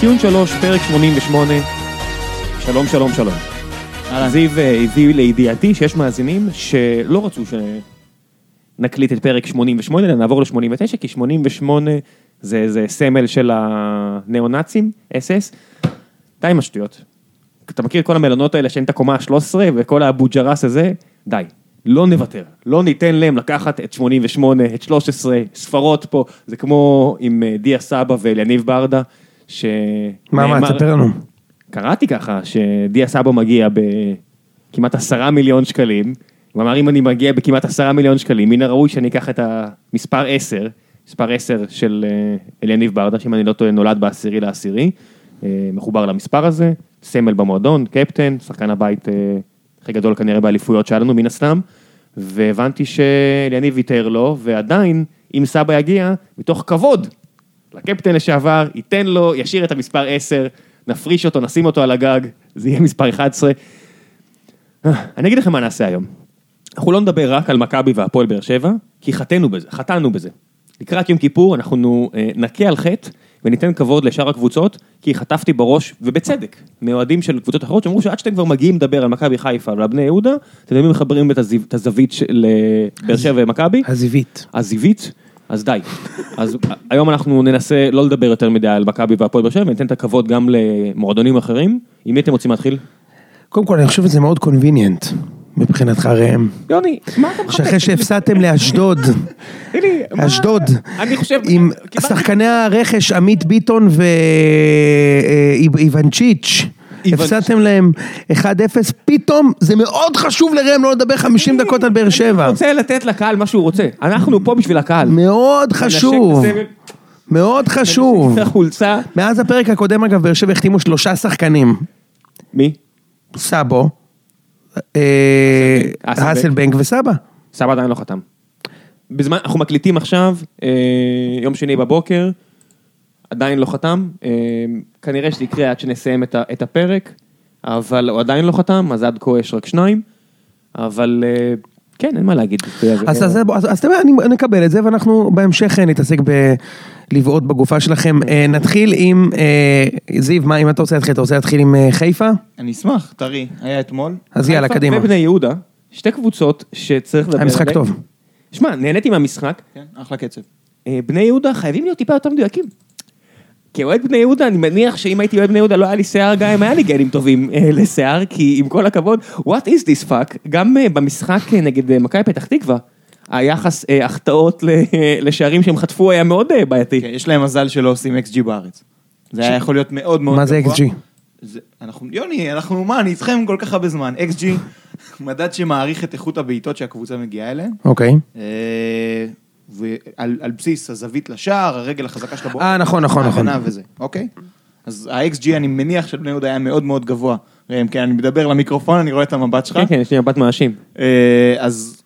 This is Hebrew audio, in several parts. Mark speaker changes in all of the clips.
Speaker 1: ציון שלוש, פרק 88. שלום, שלום, שלום.
Speaker 2: אהלן.
Speaker 1: זיו אה, הביא לידיעתי שיש מאזינים שלא רצו שנקליט את פרק 88, אלא נעבור ל-89, כי 88 זה, זה סמל של הניאו-נאצים, אס-אס. די עם השטויות. אתה מכיר כל המלונות האלה שאין את הקומה ה-13 וכל האבו ג'רס הזה? די. לא נוותר. לא ניתן להם לקחת את 88, את 13, ספרות פה. זה כמו עם אה, דיה סבא ואליניב ברדה, ש...
Speaker 3: מה, מה,
Speaker 1: נאמר-
Speaker 3: תספר לנו.
Speaker 1: קראתי ככה שדיה סבא מגיע בכמעט עשרה מיליון שקלים, הוא אמר אם אני מגיע בכמעט עשרה מיליון שקלים, מן הראוי שאני אקח את המספר עשר, מספר עשר של אה, אליניב ברדה, שאם אני לא טועה נולד בעשירי לעשירי, אה, מחובר למספר הזה, סמל במועדון, קפטן, שחקן הבית אה, הכי גדול כנראה באליפויות שהיה לנו מן הסתם, והבנתי שאליניב ויתר לו, ועדיין, אם סבא יגיע, מתוך כבוד, לקפטן לשעבר, ייתן לו, ישאיר את המספר 10, נפריש אותו, נשים אותו על הגג, זה יהיה מספר 11. אה, אני אגיד לכם מה נעשה היום. אנחנו לא נדבר רק על מכבי והפועל באר שבע, כי חטאנו בזה, חטאנו בזה. לקראת יום כיפור אנחנו אה, נכה על חטא וניתן כבוד לשאר הקבוצות, כי חטפתי בראש, ובצדק, מאוהדים של קבוצות אחרות שאמרו שעד שאתם כבר מגיעים לדבר על מכבי חיפה ועל בני יהודה, אתם תמיד מחברים את הזיו- את הזווית של אה, באר שבע ומכבי.
Speaker 3: הזיווית.
Speaker 1: הזיווית, אז די. אז היום אנחנו ננסה לא לדבר יותר מדי על מכבי והפועל באר שבע, וניתן את הכבוד גם למועדונים אחרים. עם מי אתם רוצים להתחיל?
Speaker 3: קודם כל, אני חושב שזה מאוד קונביניאנט מבחינתך, ראם.
Speaker 1: יוני, מה אתה
Speaker 3: שאחרי שהפסדתם לאשדוד,
Speaker 1: תראי, מה-
Speaker 3: אשדוד,
Speaker 1: אני חושב...
Speaker 3: עם
Speaker 1: קיבלתי-
Speaker 3: שחקני הרכש עמית ביטון אה, ואיוונצ'יץ',
Speaker 1: איוונצ'יץ'.
Speaker 3: הפסדתם להם 1-0, פתאום זה מאוד חשוב לראם לא לדבר 50 דקות על באר שבע.
Speaker 1: אני רוצה לתת לקהל מה שהוא רוצה. אנחנו פה בשביל הקהל.
Speaker 3: מאוד חשוב,
Speaker 1: נשק את הסמל,
Speaker 3: מאוד חשוב.
Speaker 1: נשק את החולצה.
Speaker 3: מאז הפרק הקודם, אגב, באר שבע החתימו שלושה שחקנים.
Speaker 1: מי?
Speaker 3: סאבו, אה,
Speaker 1: האסלבנק.
Speaker 3: האסלבנק וסבא.
Speaker 1: סבא עדיין לא חתם. בזמן, אנחנו מקליטים עכשיו, אה, יום שני בבוקר, עדיין לא חתם, אה, כנראה שזה יקרה עד שנסיים את, ה, את הפרק, אבל הוא עדיין לא חתם, אז עד כה יש רק שניים, אבל אה, כן, אין מה להגיד. אתה יודע, זה-
Speaker 3: אז- אז בוא- אז- אז אתה יודע, אני- אני אקבל את זה, ואנחנו בהמשך אה, נתעסק בלבעוט בגופה שלכם. אה, נתחיל עם, אה, זיו, מה אם אתה רוצה להתחיל? אתה רוצה להתחיל עם אה, חיפה?
Speaker 2: אני אשמח, טרי, היה אתמול.
Speaker 3: אז יאללה,
Speaker 1: חיפה
Speaker 3: קדימה.
Speaker 1: ובני יהודה, שתי קבוצות שצריך לדבר
Speaker 3: היה משחק
Speaker 1: עליהן.
Speaker 3: טוב.
Speaker 1: שמע, נהניתי מהמשחק,
Speaker 2: כן, אחלה קצב.
Speaker 1: אה, בני יהודה חייבים להיות טיפה יותר מדויקים. כאוהד בני יהודה, אני מניח שאם הייתי אוהד בני יהודה לא היה לי שיער, גם אם היה לי גנים טובים אה, לשיער, כי עם כל הכבוד, what is this fuck, גם אה, במשחק אה, נגד אה, מכבי פתח תקווה, היחס אה, החטאות ל- אה, לשערים שהם חטפו היה מאוד אה, בעייתי.
Speaker 2: כן, יש להם מזל שלא עושים אקס ג'י בארץ. זה היה יכול להיות מאוד מאוד
Speaker 3: מה זה
Speaker 2: גבוה.
Speaker 3: XG?
Speaker 2: זה- אנחנו, יוני, אנחנו, מה, אני איתכם כל כך הרבה זמן. אקס ג'י, מדד שמעריך את איכות הבעיטות שהקבוצה מגיעה אליהן.
Speaker 3: אוקיי.
Speaker 2: אה, ועל על בסיס הזווית לשער, הרגל החזקה של הבועל.
Speaker 3: אה, נכון, נכון, נכון.
Speaker 2: ההגנה וזה, אוקיי? אז ה-XG, אני מניח של בני יהודה היה מאוד מאוד גבוה. ראם, כן, אני מדבר למיקרופון, אני רואה את המבט שלך.
Speaker 1: כן, כן, יש לי מבט מאשים.
Speaker 2: אה, אז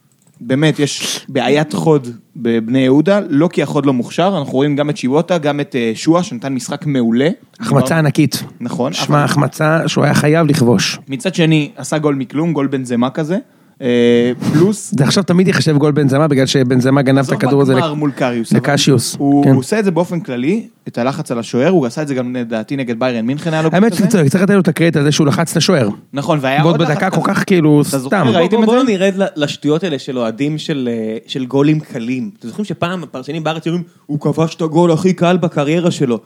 Speaker 2: באמת, יש בעיית חוד בבני יהודה, לא כי החוד לא מוכשר, אנחנו רואים גם את שיבוטה, גם את אה, שואה, שנתן משחק מעולה.
Speaker 3: החמצה ענקית.
Speaker 2: נכון.
Speaker 3: שמע, החמצה שהוא היה חייב לכבוש.
Speaker 2: מצד שני, עשה גול מכלום, גול בנזמה כזה. אה, פלוס,
Speaker 3: זה עכשיו תמיד ייחשב גול בן זמה, בגלל שבן זמה גנב את
Speaker 2: עזוב
Speaker 3: הכדור הזה.
Speaker 2: בגמר
Speaker 3: לק-
Speaker 2: מול קריוס. אבל
Speaker 3: לקשיוס.
Speaker 2: הוא
Speaker 3: כן.
Speaker 2: הוא עושה את זה באופן כללי, את הלחץ על השוער, הוא עשה את זה גם לדעתי נגד ביירן מינכן היה לו גול
Speaker 3: האמת
Speaker 2: כזה.
Speaker 3: שאתה צודק, צריך לתת לו את הקרדיט על זה שהוא לחץ את השוער.
Speaker 2: נכון, והיה
Speaker 3: ועוד
Speaker 2: עוד לחץ
Speaker 3: בדקה
Speaker 2: כזה.
Speaker 3: כל כך כאילו
Speaker 2: אתה זוכר,
Speaker 3: סתם.
Speaker 2: ראיתם את
Speaker 1: בואו
Speaker 2: זה?
Speaker 1: נרד ל- לשטויות האלה של אוהדים של, אה, של גולים קלים. אתם זוכרים שפעם הפרשנים בארץ אומרים, הוא כבש את הגול הכי קל בקריירה שלו.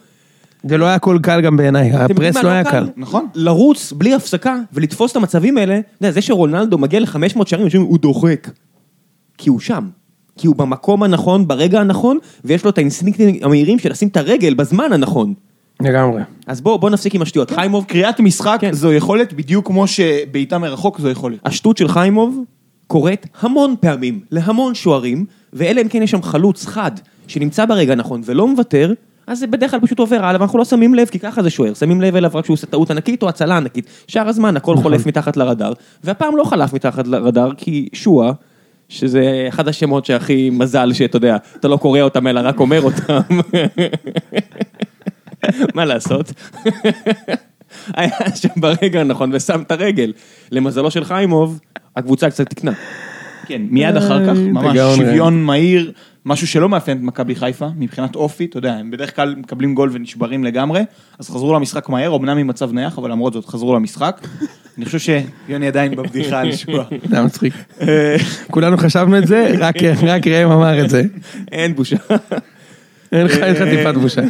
Speaker 3: זה לא היה כל קל גם בעיניי,
Speaker 1: אתם יודעים
Speaker 3: הפרס
Speaker 1: מה
Speaker 3: לא היה קל.
Speaker 2: נכון.
Speaker 1: לרוץ בלי הפסקה ולתפוס את המצבים האלה, אתה יודע, זה שרונלדו מגיע ל-500 שערים, אנשים אומרים, הוא דוחק. כי הוא שם. כי הוא במקום הנכון, ברגע הנכון, ויש לו את האינסטינקטים המהירים של לשים את הרגל בזמן הנכון.
Speaker 3: לגמרי.
Speaker 1: אז בואו, בואו נפסיק עם השטויות. חיימוב,
Speaker 2: קריאת משחק
Speaker 1: כן.
Speaker 2: זו יכולת בדיוק כמו שבעיטה מרחוק זו יכולת.
Speaker 1: השטות של חיימוב קורית המון פעמים, להמון שוערים, ואלא אם כן יש שם חלוץ חד, שנמצא ברגע הנכון ולא מוותר, אז זה בדרך כלל פשוט עובר הלאה, ואנחנו לא שמים לב, כי ככה זה שוער, שמים לב אליו רק שהוא עושה טעות ענקית או הצלה ענקית. שאר הזמן הכל חולף מתחת לרדאר, והפעם לא חלף מתחת לרדאר, כי שואה, שזה אחד השמות שהכי מזל שאתה יודע, אתה לא קורא אותם אלא רק אומר אותם. מה לעשות? היה שם ברגע הנכון ושם את הרגל. למזלו של חיימוב, הקבוצה קצת תקנה.
Speaker 2: כן, מיד אחר כך, ממש
Speaker 3: לגמרי.
Speaker 2: שוויון מהיר, משהו שלא מאפיין את מכבי חיפה, מבחינת אופי, אתה יודע, הם בדרך כלל מקבלים גול ונשברים לגמרי, אז חזרו למשחק מהר, אמנם עם מצב נייח, אבל למרות זאת חזרו למשחק. אני חושב שיוני עדיין בבדיחה על שועה.
Speaker 3: זה היה מצחיק. אה, כולנו חשבנו את זה, רק- רק ראם אמר את זה.
Speaker 1: אין בושה.
Speaker 3: אין לך אין לך טיפת בושה.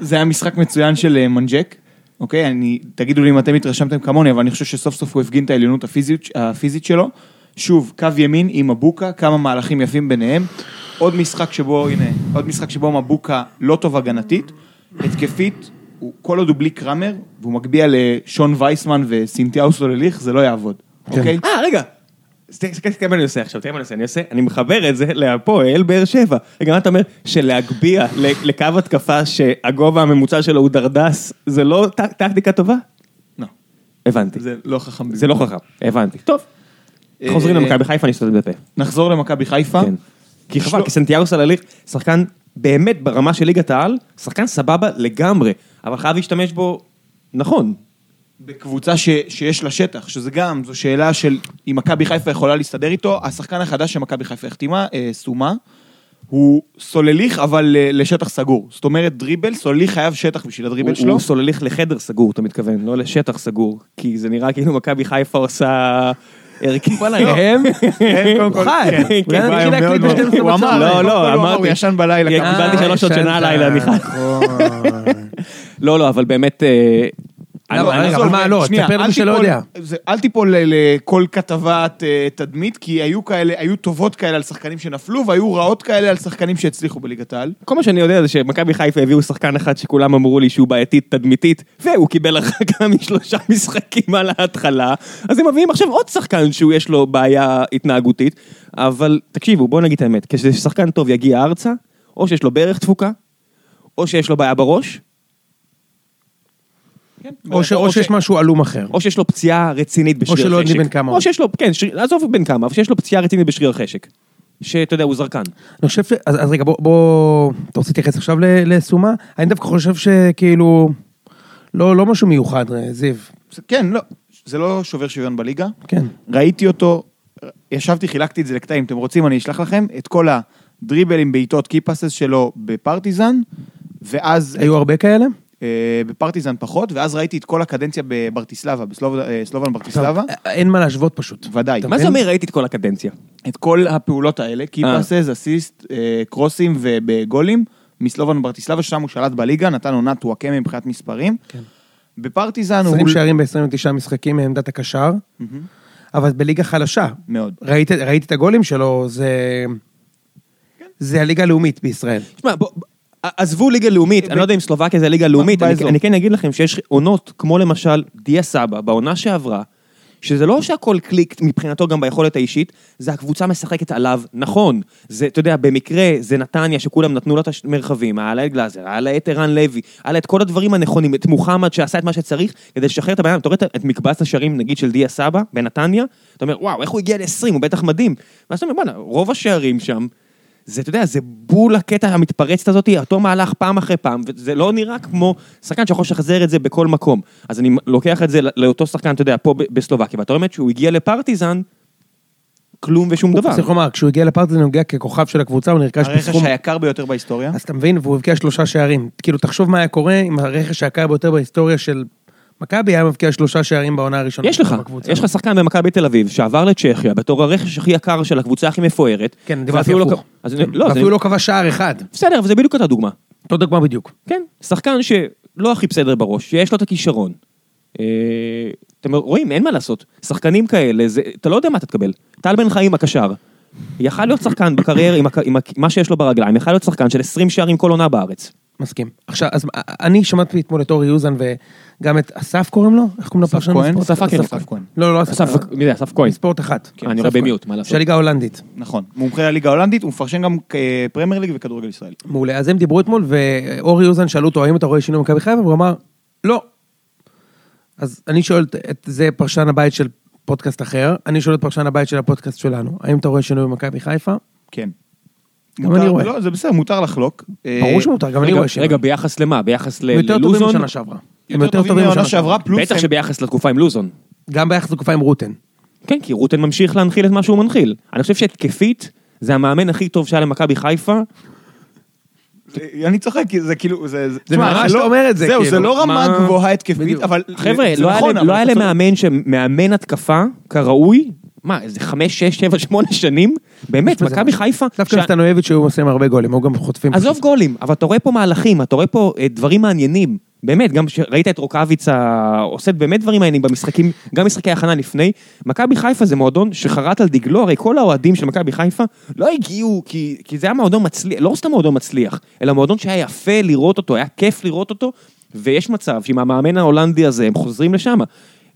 Speaker 2: זה היה משחק מצוין של אה, מנג'ק, אוקיי? אני, תגידו לי אם אתם התרשמתם כמוני, אבל אני חושב שסוף סוף הוא הפגין את העליונות הפיזית, הפיזית שלו. שוב, קו ימין עם מבוקה, כמה מהלכים יפים ביניהם. עוד משחק שבו, הנה, עוד משחק שבו מבוקה לא טוב הגנתית. התקפית, הוא, כל עוד הוא בלי קרמר, והוא מגביה לשון וייסמן וסינתיהו סולליך, זה לא יעבוד, אוקיי?
Speaker 1: אה, רגע. אז ת- תסתכל תראה מה אני עושה עכשיו, תראה מה אני עושה, אני עושה, אני מחבר את זה להפועל באר שבע. רגע, מה אתה אומר? שלהגביה ל- לקו התקפה שהגובה הממוצע שלו הוא דרדס, זה לא ט- טקטיקה טובה?
Speaker 2: לא,
Speaker 1: הבנתי.
Speaker 2: זה לא חכם.
Speaker 1: זה לא חכם, הבנתי. טוב. חוזרים
Speaker 2: אה,
Speaker 1: למכבי חיפה, אני אשתתף בפה.
Speaker 2: נחזור למכבי חיפה.
Speaker 1: כן. כי חבל,
Speaker 2: שלו-
Speaker 1: כי סנטיארו סלליך, שחקן באמת ברמה של ליגת העל, שחקן סבבה לגמרי, אבל חייב להשתמש בו נכון.
Speaker 2: בקבוצה ש, שיש לה שטח, שזה גם, זו שאלה של אם מכבי חיפה יכולה להסתדר איתו, השחקן החדש שמכבי חיפה החתימה, אה, סומה, הוא סולליך אבל אה, לשטח סגור. זאת אומרת דריבל, סולליך חייב שטח בשביל הדריבל
Speaker 1: הוא,
Speaker 2: שלו.
Speaker 1: הוא סולליך לחדר סגור, אתה מתכוון, לא לשטח סגור, כי זה נראה כאילו מכבי חיפה עושה הרכב.
Speaker 3: ראם?
Speaker 4: קודם כל,
Speaker 3: חי.
Speaker 4: כן,
Speaker 3: אולי
Speaker 4: כן,
Speaker 3: נתחיל
Speaker 4: הוא מאוד-
Speaker 3: להקליט ב-12
Speaker 4: הוא אמר,
Speaker 3: בצהריים.
Speaker 1: לא,
Speaker 4: קודם כל הוא אמר,
Speaker 1: לא, אמרתי.
Speaker 4: הוא ישן בלילה.
Speaker 1: יא,
Speaker 4: כמה-
Speaker 1: קיבלתי
Speaker 3: אה,
Speaker 1: שלוש שעות שינה
Speaker 3: ישנת.
Speaker 1: הלילה, מיכל. לא, לא, אבל באמת... אה, אני-
Speaker 3: אבל
Speaker 1: אני-
Speaker 3: רגע,
Speaker 2: עזוב,
Speaker 3: מה, לא,
Speaker 2: שנייה,
Speaker 3: תספר לנו
Speaker 2: אל
Speaker 3: שלא
Speaker 2: תיפול-
Speaker 3: יודע.
Speaker 2: זה- אל תיפול ל- לכל כתבת אה, תדמית, כי היו כאלה, היו טובות כאלה על שחקנים שנפלו, והיו רעות כאלה על שחקנים שהצליחו בליגת העל.
Speaker 1: כל מה שאני יודע זה שמכבי חיפה הביאו שחקן אחד שכולם אמרו לי שהוא בעייתית תדמיתית, והוא קיבל הרחקה משלושה משחקים על ההתחלה, אז הם מביאים עכשיו עוד שחקן שהוא יש לו בעיה התנהגותית, אבל תקשיבו, בואו נגיד את האמת, כששחקן טוב יגיע ארצה, או שיש לו ברך תפוקה, או שיש לו בעיה בראש,
Speaker 3: או ש- אוקיי. או שיש משהו עלום אחר.
Speaker 1: או שיש לו פציעה רצינית בשריר החשק.
Speaker 3: שלא יודעים בן כמה
Speaker 1: או
Speaker 3: הוא.
Speaker 1: שיש לו, כן, שר... עזוב בן כמה, אבל שיש לו פציעה רצינית בשריר החשק. שאתה יודע, הוא זרקן.
Speaker 3: אני חושב ש... אז, אז רגע, בוא, בוא... אתה רוצה להתייחס עכשיו ל- לסומה? אני דווקא חושב שכאילו... לא, לא משהו מיוחד, אה, זיו.
Speaker 2: כן, לא, זה לא שובר שוויון בליגה.
Speaker 3: כן.
Speaker 2: ראיתי אותו, ישבתי, חילקתי את זה לקטעים, אתם רוצים אני אשלח לכם, את כל הדריבלים בעיטות קיפסס שלו בפרטיזן, ואז,
Speaker 3: היו הרבה כאלה?
Speaker 2: אה, בפרטיזן פחות, ואז ראיתי את כל הקדנציה בברטיסלבה, בסלובן ברטיסלבה,
Speaker 3: טוב, אה, אין מה להשוות פשוט.
Speaker 2: ודאי.
Speaker 1: מה זה אומר ראיתי את כל הקדנציה?
Speaker 2: את כל הפעולות האלה, קיפסס, אסיסט, אה, קרוסים ובגולים, מסלובן ברטיסלבה, שם הוא שלט בליגה, נתן עונת וואקמה מבחינת מספרים. בפרטיזן הוא...
Speaker 3: 20 שערים ב-29 משחקים מעמדת הקשר, אבל בליגה חלשה.
Speaker 2: מאוד.
Speaker 3: ראית, ראית את הגולים שלו, זה...
Speaker 2: כן.
Speaker 3: זה הליגה הלאומית בישראל.
Speaker 1: תשמע, בוא, בוא, עזבו ליגה לאומית, אני לא יודע אם סלובקיה זה ליגה לאומית, אני,
Speaker 2: באזור.
Speaker 1: אני כן אגיד לכם שיש עונות, כמו למשל דיה סבא, בעונה שעברה, שזה לא שהכל קליק מבחינתו גם ביכולת האישית, זה הקבוצה משחקת עליו נכון. זה, אתה יודע, במקרה זה נתניה שכולם נתנו לה את המרחבים, היה לה את גלאזר, היה לה את ערן לוי, היה לה את כל הדברים הנכונים, את מוחמד שעשה את מה שצריך כדי לשחרר את הבן אדם. אתה רואה את- את מקבץ השערים נגיד של דיה סבא בנתניה, אתה אומר, וואו, איך הוא הגיע ל-20, הוא בטח מדהים. ואז אתה אומר, בואנה, רוב השערים שם, זה, אתה יודע, זה בול הקטע המתפרצת הזאת, אותו מהלך פעם אחרי פעם, וזה לא נראה כמו שחקן שיכול לשחזר את זה בכל מקום. אז אני לוקח את זה לא- לאותו שחקן, אתה יודע, פה ב- בסלובקיה, ואתה רואה באמת שהוא הגיע לפרטיזן, כלום ושום דבר.
Speaker 3: צריך לומר, נכון. כשהוא הגיע לפרטיזן הוא הגיע ככוכב של הקבוצה, הוא נרכש
Speaker 2: הרכש
Speaker 3: בסכום...
Speaker 2: היקר ביותר בהיסטוריה.
Speaker 3: אז אתה מבין, והוא הבקיע שלושה שערים. כאילו, תחשוב מה היה קורה אם הרכש היקר ביותר בהיסטוריה של מכבי היה מבקיע שלושה שערים בעונה הראשונה.
Speaker 1: יש לך,
Speaker 3: שלו בקבוצה.
Speaker 1: יש לך שחקן במכבי תל אביב שעבר לצ'כיה בתור הרכש הכי יקר של הקבוצה הכי מפוארת.
Speaker 3: כן, דיברתי
Speaker 1: ואפילו לא
Speaker 3: הפוך.
Speaker 1: ק- אז אני- לא, אז
Speaker 3: אפילו
Speaker 1: אני-
Speaker 3: לא כבש שער אחד.
Speaker 1: בסדר, אבל זה בדיוק אותה דוגמה.
Speaker 3: אותו דוגמה בדיוק.
Speaker 1: כן, שחקן שלא הכי בסדר בראש, שיש לו את הכישרון. אה, אתם רואים, אין מה לעשות. שחקנים כאלה, זה, אתה לא יודע מה אתה תקבל. טל בן חיים הקשר. יכל להיות שחקן בקריירה עם, הכ- עם הכ- מה שיש לו ברגליים, יכל להיות שחקן של 20 שערים כל עונה בארץ.
Speaker 3: מסכים. עכשיו, אז אני שמעתי אתמול את אורי יוזן וגם את אסף קוראים לו? איך קוראים לו? פרשן
Speaker 2: כהן?
Speaker 3: הספורט?
Speaker 1: אסף הכהן.
Speaker 3: אסף כהן. לא, לא אסף.
Speaker 1: אסף, מי זה? אסף כהן.
Speaker 3: ספורט אחת.
Speaker 1: אני
Speaker 3: אסף
Speaker 1: רואה
Speaker 3: כהן.
Speaker 1: במיוט, מה לעשות.
Speaker 3: של הליגה ההולנדית.
Speaker 2: נכון, מומחה לליגה ההולנדית, הוא מפרשן גם אה, פרמייר ליג וכדורגל ישראל.
Speaker 3: מעולה. אז הם דיברו אתמול, ואורי אוזן שאלו אותו, האם אתה רואה שינוי במכבי חיפה? והוא אמר, לא. אז אני שואל את- את זה פרשן הבית של פודקאסט אחר, אני שואל את פרשן הבית של הפודקאסט שלנו, האם אתה רואה שינוי במכבי חיפה?
Speaker 1: אה,
Speaker 2: כן.
Speaker 3: גם
Speaker 2: מותר-
Speaker 3: אני רואה.
Speaker 2: לא, זה בסדר, מותר לחלוק. אה,
Speaker 3: ברור שמותר, גם אני
Speaker 1: רגע-
Speaker 3: רואה שינוי.
Speaker 1: רגע, ביחס למה? ביחס ל-
Speaker 3: הם יותר טובים
Speaker 1: ללוזון?
Speaker 3: משנה שעברה. הם
Speaker 2: יותר טובים מהעונה
Speaker 3: משנה שעברה.
Speaker 2: שעברה, פלוס
Speaker 1: בטח
Speaker 2: הם-
Speaker 1: שביחס לתקופה עם לוזון.
Speaker 3: גם ביחס לתקופה עם רוטן.
Speaker 1: כן, כי רוטן ממשיך להנחיל את מה שהוא מנחיל. אני חושב שהתקפית, זה המאמן הכי טוב שהיה למכבי חיפה,
Speaker 2: אה, אני צוחק, כי זה כאילו, זה...
Speaker 3: נורא
Speaker 2: תשמע,
Speaker 3: שאתה
Speaker 2: לא-
Speaker 3: אומר את זה,
Speaker 2: זהו,
Speaker 3: כאילו.
Speaker 2: זה לא רמה
Speaker 1: מה-
Speaker 2: גבוהה התקפית,
Speaker 3: בדיוק.
Speaker 2: אבל...
Speaker 1: חבר'ה,
Speaker 2: זה
Speaker 1: לא היה
Speaker 2: נכון,
Speaker 1: להם-
Speaker 2: אבל
Speaker 1: לא היה
Speaker 2: אתה
Speaker 1: להם
Speaker 2: צודק.
Speaker 1: מאמן שמאמן התקפה כראוי, מה, איזה חמש, שש, שבע, שמונה שנים? באמת,
Speaker 3: בזה
Speaker 1: מכבי חיפה...
Speaker 3: דווקא
Speaker 1: שה-
Speaker 3: סטנואביץ' שהוא עושה הרבה גולים, הוא גם חוטפים.
Speaker 1: עזוב גולים, אבל אתה רואה פה מהלכים, אתה רואה פה אה, דברים מעניינים. באמת, גם ראית את רוקאביצה עושה באמת דברים מעניינים במשחקים, גם משחקי הכנה לפני. מכבי חיפה זה מועדון שחרט על דגלו, הרי כל האוהדים של מכבי חיפה לא הגיעו, כי, כי זה היה מועדון מצליח, לא סתם מועדון מצליח, אלא מועדון שהיה יפה לראות אותו, היה כיף לראות אותו, ויש מצב שעם המאמן ההולנדי הזה, הם חוזרים לשם.